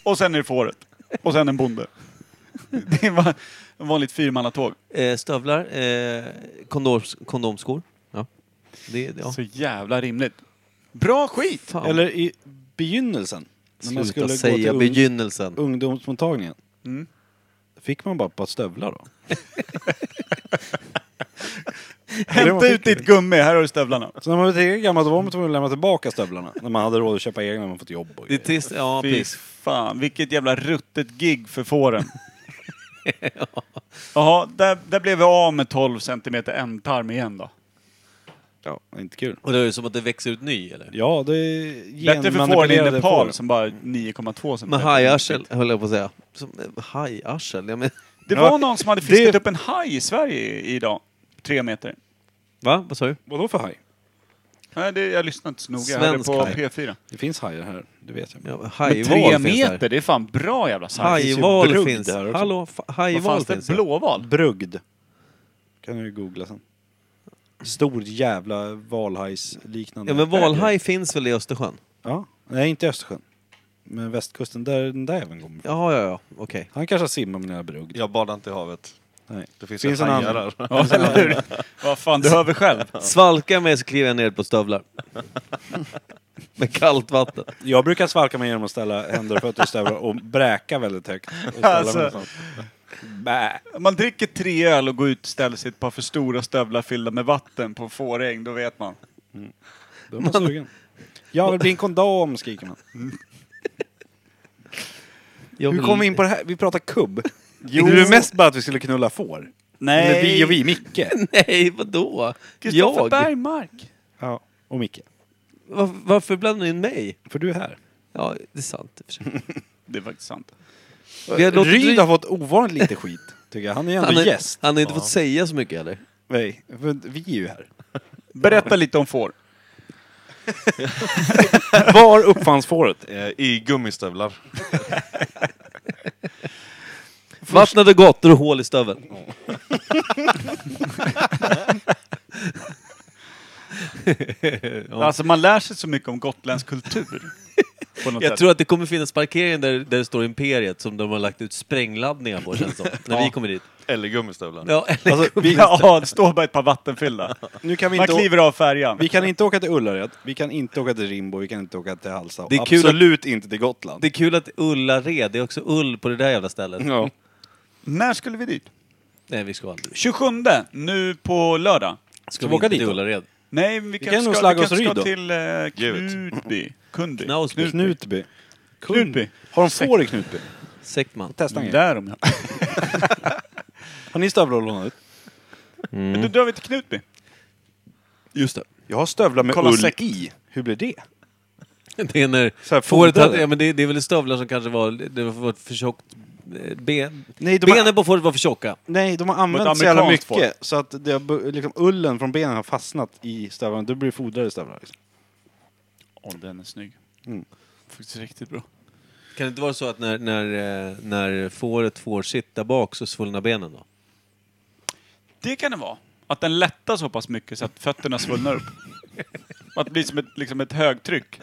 Speaker 4: Och sen är det fåret. Och sen en bonde. Det är va- en vanligt fyrmannatåg.
Speaker 2: eh, stövlar, eh, kondoms, kondomskor. Ja. Det, ja.
Speaker 4: Så jävla rimligt. Bra skit!
Speaker 2: Fan.
Speaker 1: Eller i begynnelsen. När man
Speaker 2: Sluta
Speaker 1: skulle
Speaker 2: säga
Speaker 1: gå till ung,
Speaker 2: begynnelsen.
Speaker 1: ungdomsmottagningen.
Speaker 4: Mm.
Speaker 1: Fick man bara ett par stövlar då? Det var
Speaker 4: Hämta ut
Speaker 1: skickligt.
Speaker 4: ditt gummi, här har du stövlarna.
Speaker 1: Så Alltså, när man var tillräckligt gammal då var man tvungen att lämna tillbaka stövlarna. När man hade råd att köpa egna när man fått jobb och
Speaker 2: Det är
Speaker 1: grejer.
Speaker 2: trist. Ja,
Speaker 4: Fy
Speaker 2: precis.
Speaker 4: fan, vilket jävla ruttet gig för fåren. Jaha, där, där blev vi av med 12 centimeter ändtarm igen då.
Speaker 1: Ja, inte kul.
Speaker 2: Och det är ju som att det växer ut ny, eller?
Speaker 1: Ja, det är
Speaker 4: Bättre för fåren i
Speaker 1: genmanipulerade
Speaker 4: Nepal
Speaker 1: får.
Speaker 4: som bara 9,2 centimeter.
Speaker 2: Med hajarsel, höll jag på att säga. Som, eh, hajarsel? Jag men,
Speaker 4: Det
Speaker 1: Ja,
Speaker 4: var någon som hade fiskat
Speaker 1: det-
Speaker 4: upp en haj i Sverige i- idag. Tre meter.
Speaker 2: va? Vad sa du?
Speaker 1: Vadå för haj?
Speaker 4: Nej, det, jag lyssnade inte så noga. Jag hörde
Speaker 2: Svensk
Speaker 4: på
Speaker 2: haj.
Speaker 4: P4.
Speaker 1: Det finns hajar här, det vet jag.
Speaker 2: Ja,
Speaker 4: Men
Speaker 2: hajval
Speaker 4: tre
Speaker 2: finns
Speaker 4: meter,
Speaker 2: där.
Speaker 4: det är fan bra jävla sarg.
Speaker 1: ju
Speaker 2: Hajval
Speaker 1: brugd
Speaker 2: finns.
Speaker 1: där också.
Speaker 2: Hallå, fa-
Speaker 4: Vad
Speaker 2: hajval
Speaker 4: fanns
Speaker 2: finns.
Speaker 4: det?
Speaker 2: där.
Speaker 4: Blåval?
Speaker 1: Brugd. Kan du googla sen. Stor jävla valhajsliknande.
Speaker 2: Ja, men valhaj finns väl i Östersjön?
Speaker 1: Ja. Nej, inte i Östersjön. Men västkusten, där den där även kommer
Speaker 2: Ja, ja, ja. Okej.
Speaker 1: Han kanske har simmat med den här brugd.
Speaker 3: Jag badar inte i havet.
Speaker 1: Nej.
Speaker 3: Det finns,
Speaker 1: Finns
Speaker 3: en
Speaker 1: en
Speaker 3: hajar
Speaker 1: annan.
Speaker 3: där.
Speaker 4: Ja, eller hur? Vad fan, du hör väl själv?
Speaker 2: Svalkar mig så kliver jag ner på stövlar. Med kallt vatten.
Speaker 1: Jag brukar svalka mig genom att ställa händer och fötter i stövlar och bräka väldigt högt. Och ställa
Speaker 4: Alltså.
Speaker 1: mig någonstans. Bä.
Speaker 4: Man dricker tre öl och går ut och ställer sig ett par för stora stövlar fyllda med vatten på fåräng, då vet man.
Speaker 1: Då är man sugen. Jag vill bli en kondom, skriker man.
Speaker 2: Jag
Speaker 1: Hur
Speaker 2: vill-
Speaker 1: kom vi in på det här? Vi pratar kubb. Jo. Det är mest bara att vi skulle knulla får. Eller vi och vi, Micke.
Speaker 2: Nej, vadå?
Speaker 4: Kristoffer
Speaker 2: Jag?
Speaker 4: Bergmark.
Speaker 1: Ja. Och Micke.
Speaker 2: Var, varför blandar ni in mig?
Speaker 1: För du är här.
Speaker 2: Ja, det är sant. i och för sig.
Speaker 4: Det är faktiskt sant.
Speaker 2: Vi har låtit
Speaker 1: Ryd
Speaker 2: Ryd-
Speaker 1: har fått ovanligt lite skit, tycker jag. Han är ju ändå
Speaker 2: Han, har-
Speaker 1: gäst.
Speaker 2: han har inte fått säga så mycket heller.
Speaker 1: Nej, för vi är ju här.
Speaker 4: Berätta lite om får.
Speaker 1: Var uppfanns fåret?
Speaker 3: Eh, I gummistövlar.
Speaker 2: Vattnet och gator och hål i stöveln.
Speaker 4: Alltså man lär sig så mycket om gotländsk kultur. På något
Speaker 2: Jag
Speaker 4: sätt.
Speaker 2: tror att det kommer finnas parkering där, där det står Imperiet som de har lagt ut sprängladdningar på känns det som, När vi kommer dit. Alltså,
Speaker 3: Eller gummistövlar.
Speaker 2: Ja, eller,
Speaker 4: Alltså, Ja, det står bara ett par vattenfyllda.
Speaker 1: Nu kan vi
Speaker 4: Man
Speaker 1: inte...
Speaker 4: kliver av färjan.
Speaker 1: Vi kan inte åka till Ullared, vi kan inte åka till Rimbo, vi kan inte åka till Halsa.
Speaker 2: Det är kul att-
Speaker 1: Absolut inte till Gotland.
Speaker 2: det är kul att Ullared, det är också ull på det där jävla stället.
Speaker 1: Ja.
Speaker 4: När skulle vi dit?
Speaker 2: Nej, vi ska aldrig.
Speaker 4: 27, nu på lördag.
Speaker 2: Ska
Speaker 1: vi
Speaker 2: vi
Speaker 1: åka
Speaker 2: inte
Speaker 1: dit
Speaker 2: till
Speaker 1: då?
Speaker 2: Ullared?
Speaker 4: Nej, vi kanske
Speaker 1: kan nog
Speaker 4: ska,
Speaker 1: slagga
Speaker 4: vi kanske ska
Speaker 1: oss ryd då.
Speaker 4: till eh,
Speaker 3: Givet.
Speaker 4: Knutby. Kundi.
Speaker 2: Knausby.
Speaker 1: Knutby.
Speaker 4: Knutby.
Speaker 1: Har de får i Knutby?
Speaker 2: Sektman.
Speaker 1: Testa en grej.
Speaker 4: Där om jag.
Speaker 1: Mm. Har ni stövlar att låna ut?
Speaker 4: Men då
Speaker 1: Mm.
Speaker 4: drar vi till Knutby.
Speaker 1: Just det. Jag har stövlar med
Speaker 4: Kolla
Speaker 1: ull
Speaker 4: sekt.
Speaker 1: i. Hur blir det?
Speaker 2: Det är när
Speaker 1: Så här
Speaker 2: fåret
Speaker 1: fodrade.
Speaker 2: hade, ja, men det, det är väl stövlar som kanske var, det var ett för tjockt eh, ben.
Speaker 1: Nej, de har-
Speaker 2: Benen på fåret var för tjocka.
Speaker 1: Nej, de har använt
Speaker 4: Mot
Speaker 1: så jävla mycket
Speaker 4: amerikanskt får.
Speaker 1: så att det har, bu- liksom, ullen från benen har fastnat i stövlarna. Då blir det fodrade stövlar. Liksom.
Speaker 4: Åh, den är snygg.
Speaker 1: Mm.
Speaker 4: Faktiskt riktigt bra.
Speaker 2: Kan det inte vara så att när, när, eh, när fåret får sitt där bak så svullnar benen då?
Speaker 4: Det kan det vara. Att den lättar så pass mycket så att fötterna svullnar upp. Att det blir som ett, liksom ett högtryck.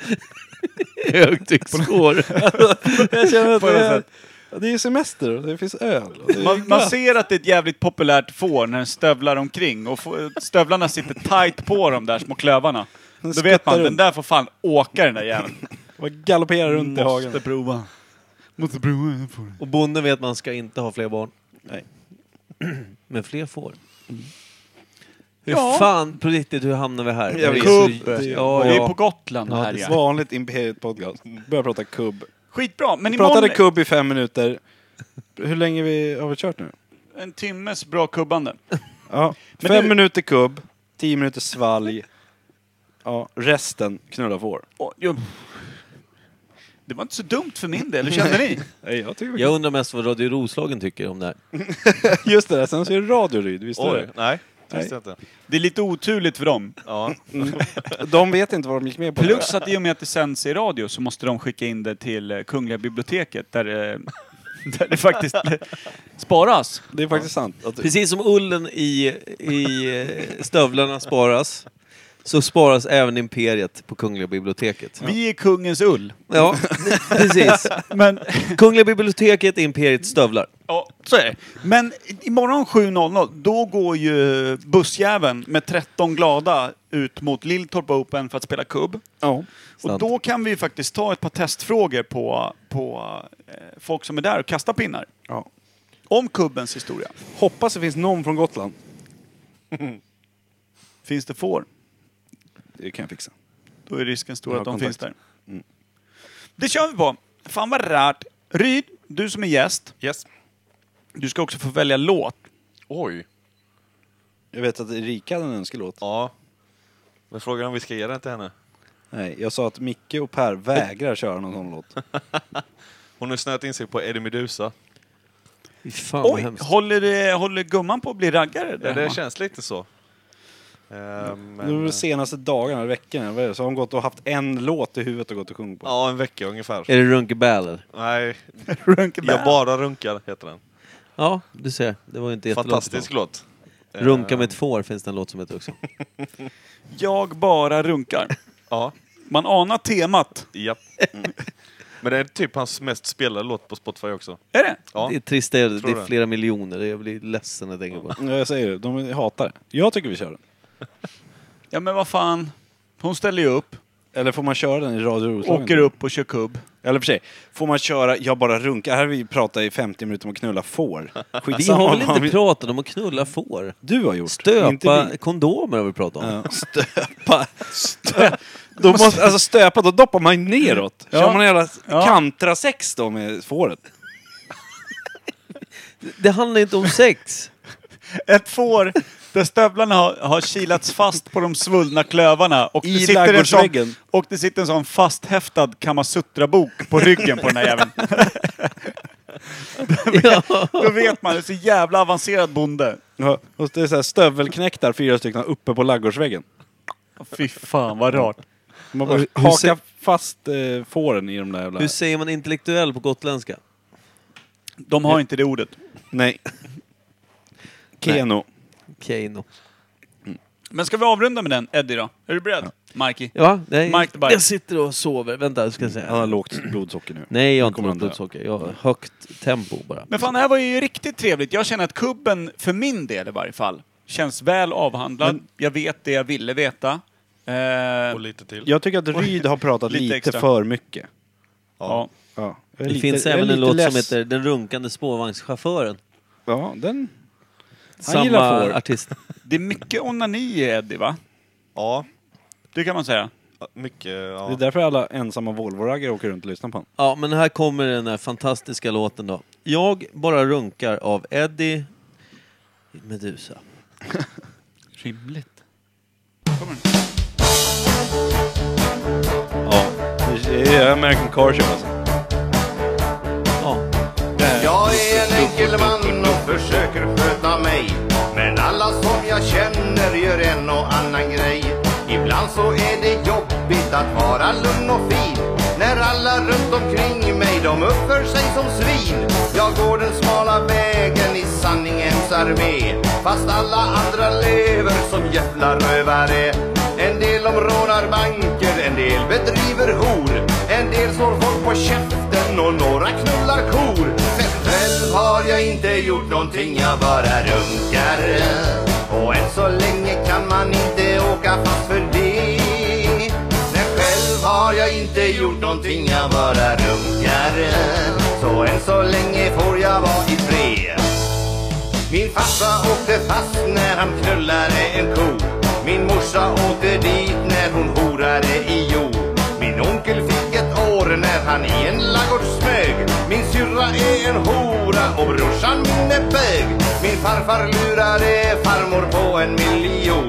Speaker 2: Högtrycksskår.
Speaker 1: Jag känner att
Speaker 4: På något
Speaker 1: det är,
Speaker 4: sätt.
Speaker 1: det är semester och det finns öl. Och det är
Speaker 4: Man, man ser att det är ett jävligt populärt får när den stövlar omkring och få- stövlarna sitter tight på de där små klövarna.
Speaker 1: Den
Speaker 4: Då vet man,
Speaker 1: skuttar
Speaker 4: den där får fan åka den där jäveln.
Speaker 1: Och galopperar runt i hagen.
Speaker 4: prova. Måste prova.
Speaker 2: Och bonden vet att man ska inte ha fler barn.
Speaker 1: Nej.
Speaker 2: Men fler får. Hur
Speaker 4: Ja.
Speaker 2: fan, på riktigt, hur hamnar vi här?
Speaker 1: Jag
Speaker 2: Det är
Speaker 1: vet.
Speaker 2: så-
Speaker 1: Kubb.
Speaker 2: Ja,
Speaker 4: Vi är på
Speaker 2: ja.
Speaker 4: Gotland
Speaker 1: Ja,
Speaker 4: här
Speaker 1: det är
Speaker 4: ja.
Speaker 1: vanligt Imperiet podcast. Börjar prata kubb.
Speaker 4: Skitbra, men
Speaker 1: Vi pratade
Speaker 4: imorgon
Speaker 1: kubb i fem minuter. Hur länge vi har vi kört nu?
Speaker 4: en timmes bra kubbande.
Speaker 1: Ja.
Speaker 4: Men
Speaker 1: Fem
Speaker 4: du-
Speaker 1: minuter kubb, tio minuter svalg. Ja, resten knulla får.
Speaker 4: Och, jag... Det var inte så dumt för min del, hur kände ni?
Speaker 1: Nej, jag tycker
Speaker 2: Jag undrar mest vad Radio Roslagen tycker om det här.
Speaker 1: Just det, där. sen så är det Radio Ryd, visst är
Speaker 3: Oj,
Speaker 1: det?
Speaker 3: nej. Det visste jag inte.
Speaker 4: Det är lite oturligt för dem.
Speaker 3: Ja.
Speaker 1: De vet inte vad de gick med på.
Speaker 4: Plus att i och med att det sänds i radio så måste de skicka in det till eh, Kungliga biblioteket där, eh, där det faktiskt eh, sparas.
Speaker 1: Det är faktiskt sant. Att,
Speaker 2: Precis som ullen i, i eh, stövlarna sparas, så sparas även imperiet på Kungliga biblioteket.
Speaker 4: Vi är kungens ull.
Speaker 2: Ja, precis.
Speaker 4: Men,
Speaker 2: Kungliga biblioteket är imperiets stövlar.
Speaker 4: ja, så är det. Men imorgon 7.00 då går ju bussjäveln med 13 glada ut mot Lilltorp Open för att spela kubb.
Speaker 1: ja.
Speaker 4: Och
Speaker 2: Sant.
Speaker 4: då kan vi ju faktiskt ta ett par testfrågor på, på eh, folk som är där och kasta pinnar.
Speaker 1: Ja.
Speaker 4: Om kubbens historia.
Speaker 1: Hoppas det finns någon från Gotland.
Speaker 4: Finns det får?
Speaker 1: Det kan jag fixa.
Speaker 4: Då är risken stor
Speaker 1: Jag
Speaker 4: att
Speaker 1: har
Speaker 4: de
Speaker 1: kontakt.
Speaker 4: finns där.
Speaker 3: Mm.
Speaker 4: Det kör vi på. Fan vad rärt. Ryd, du som är gäst,
Speaker 3: Yes.
Speaker 4: du ska också få välja låt.
Speaker 3: Oj.
Speaker 1: Jag vet att Erika hade en önskelåt.
Speaker 3: Ja. Men frågan är om vi ska ge den till henne.
Speaker 1: Nej, jag sa att Micke och Per vägrar köra någon sån låt.
Speaker 3: Hon har snöat in sig på Eddie Meduza.
Speaker 2: Fy fan vad
Speaker 4: Oj,
Speaker 2: hemskt.
Speaker 4: håller, det- håller gumman på att bli raggare? Där
Speaker 3: Ja, det
Speaker 4: hemma?
Speaker 3: känns lite så. Eh,
Speaker 1: Nu de
Speaker 3: Men,
Speaker 1: senaste dagarna, veckorna, vad är det? så har de gått och haft en låt i huvudet och gått och sjungit på.
Speaker 3: ja, en vecka ungefär.
Speaker 2: Är det Runkebäl eller?
Speaker 3: Nej,
Speaker 4: Runken
Speaker 3: Jag
Speaker 4: Bär.
Speaker 3: bara runkar heter den.
Speaker 2: Ja, du ser. Det var ju inte jättelångt
Speaker 3: Fantastisk
Speaker 2: ifrån.
Speaker 3: låt. Eh,
Speaker 2: Runka
Speaker 1: Ehm.
Speaker 2: med ett får finns det en låt som heter också.
Speaker 4: Jag bara runkar.
Speaker 3: Ja,
Speaker 4: Man anar temat.
Speaker 3: japp. Mm. Men det är typ hans mest spelade låt på Spotify också.
Speaker 4: Är det?
Speaker 3: Ja,
Speaker 2: Det är trist, det är, det
Speaker 3: Tror
Speaker 2: är
Speaker 3: det.
Speaker 2: flera miljoner. Jag blir ledsen när jag tänker på det.
Speaker 1: Ja, Jag säger det, de hatar det. Jag tycker vi kör den.
Speaker 4: Ja men vad fan. Hon ställer ju upp,
Speaker 1: Eller får man köra den i Radio Roslagen?
Speaker 4: åker upp och kör kubb.
Speaker 1: Eller för sig, får man köra Jag bara runkar? Här har vi pratat i 50 minuter om att knulla får.
Speaker 2: Vi har väl
Speaker 1: vad
Speaker 2: inte
Speaker 1: alltså, vi-
Speaker 2: pratat om att knulla får?
Speaker 1: Du har gjort. Inte
Speaker 2: Stöpa
Speaker 1: vi.
Speaker 2: kondomer har vi pratat om.
Speaker 1: Ja. Stöpa. Stö... Då måste, alltså stöpa, då doppar man ju neråt.
Speaker 4: Ja.
Speaker 1: Kör man en jävla
Speaker 4: Ja.
Speaker 1: kantrasex då med fåret.
Speaker 2: Det handlar inte om sex.
Speaker 4: Ett får där stövlarna har, har kilats fast på de svullna klövarna. Och
Speaker 1: I
Speaker 4: det, sitter en sån,
Speaker 1: ladugårdsväggen.
Speaker 4: och det sitter en sån fasthäftad Kamasutra-bok på ryggen på den här jäveln.
Speaker 2: Ja.
Speaker 4: Då vet man, det är så jävla avancerad bonde.
Speaker 1: Ja, och det är så här stövelknäktar, fyra stycken, uppe på laggårdsväggen.
Speaker 4: Fy fan vad rart.
Speaker 1: Man bara
Speaker 2: Och hur
Speaker 1: hakar
Speaker 2: ser-
Speaker 1: fast eh, fåren i de där jävla...
Speaker 2: Hur säger man intellektuell på gotländska?
Speaker 4: De har inte det ordet.
Speaker 1: Nej. Keno.
Speaker 2: Keino.
Speaker 4: Men ska vi avrunda med den Eddie då? Är du beredd? Mikey?
Speaker 2: Ja, nej.
Speaker 4: Mike the Bike.
Speaker 2: Jag sitter och sover. Vänta, ska jag säga.
Speaker 1: Han har lågt blodsocker nu.
Speaker 2: Nej, jag
Speaker 1: Nu
Speaker 2: har inte
Speaker 1: kommer
Speaker 2: något
Speaker 1: han dö.
Speaker 2: blodsocker. Jag har högt tempo bara.
Speaker 4: Men fan det här var ju riktigt trevligt. Jag känner att kubben, för min del i varje fall, känns väl avhandlad. Jag vet det jag ville veta. Eh,
Speaker 3: och lite till.
Speaker 1: Jag tycker att Ryd har pratat
Speaker 4: Lite
Speaker 1: lite,
Speaker 4: extra.
Speaker 1: för mycket.
Speaker 4: ja.
Speaker 1: Ja. Jag är
Speaker 2: Det
Speaker 1: lite-
Speaker 2: finns
Speaker 1: jag är
Speaker 2: även en
Speaker 1: lite
Speaker 2: låt
Speaker 1: less.
Speaker 2: som heter Den runkande spårvagnschauffören.
Speaker 1: Ja, den... Han gillar
Speaker 2: Samma
Speaker 1: får.
Speaker 2: artist.
Speaker 4: Det är mycket onani i Eddie va?
Speaker 3: Ja,
Speaker 4: Det kan man säga.
Speaker 3: mycket.
Speaker 1: Det är
Speaker 3: Ja.
Speaker 1: därför alla ensamma Volvo-raggare åker runt och lyssnar på honom.
Speaker 2: Ja, men här kommer den här fantastiska låten då. Jag bara runkar av Eddie Medusa.
Speaker 4: Rimligt.
Speaker 1: Ja. Det är American Car Show alltså.
Speaker 2: Ja.
Speaker 9: Jag är en enkel man och försöker sköta mig Men alla som jag känner gör en och annan grej Ibland så är det jobbigt att vara lugn och fin När alla runt omkring mig de uppför sig som svin Jag går den smala vägen i sanningens armé Fast alla andra lever som jävla rövare en del de rånar banker, en del bedriver hor En del slår folk på käften och några knullar kor Men själv har jag inte gjort någonting, jag bara runkar Och än så länge kan man inte åka fast för det Men själv har jag inte gjort någonting, jag bara runkar Så än så länge får jag vara i fred min farsa åkte fast när han knullade en ko Min morsa åkte dit när hon horade i jord Min onkel fick ett år när han i en ladugård smög Min syrra är en hora och brorsan min är bög Min farfar lurade farmor på en miljon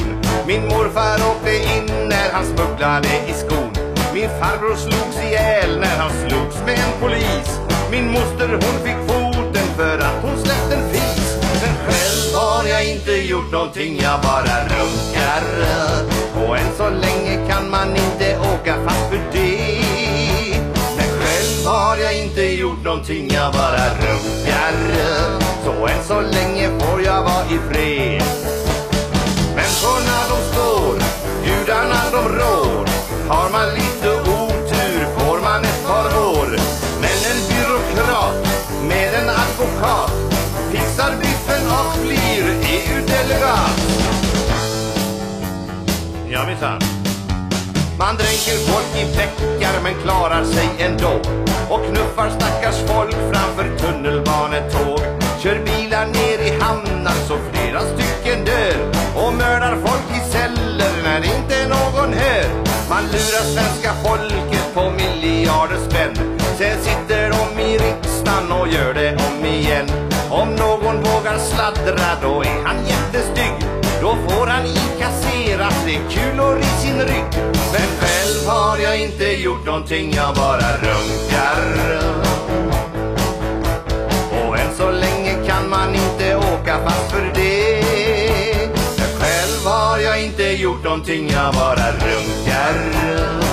Speaker 9: Min morfar åkte in när han smugglade i skon min farbror slogs ihjäl när han slogs med en polis Min moster hon fick foten för att hon släppte en fis Men själv har jag inte gjort gjort någonting, jag bara runkar. Och än så länge kan man inte åka fast för det. Men själv har jag inte gjort någonting, jag bara runkar. Så än så länge får jag vara i fred. Människorna de står, gudarna de rår. Har man lite otur får man ett par år. Men en byråkrat med en advokat fixar biffen och blir EU-delegat. Ja minsann. Man dränker folk i bäckar men klarar sig ändå och knuffar stackars folk framför tunnelbanetåg. Kör bilar ner i hamnar så flera stycken dör och mördar folk i celler när inte någon hör. Man lurar svenska folket på miljarder spänn. Sen sitter de i riksdagen och gör det om igen. Om någon vågar sladdra då är han jättestygg. Då får han inkasserat tre kulor i sin rygg Men själv har jag inte gjort någonting, jag bara runkar Och än så länge kan man inte åka fast för det Men själv har jag inte gjort någonting, jag bara runkar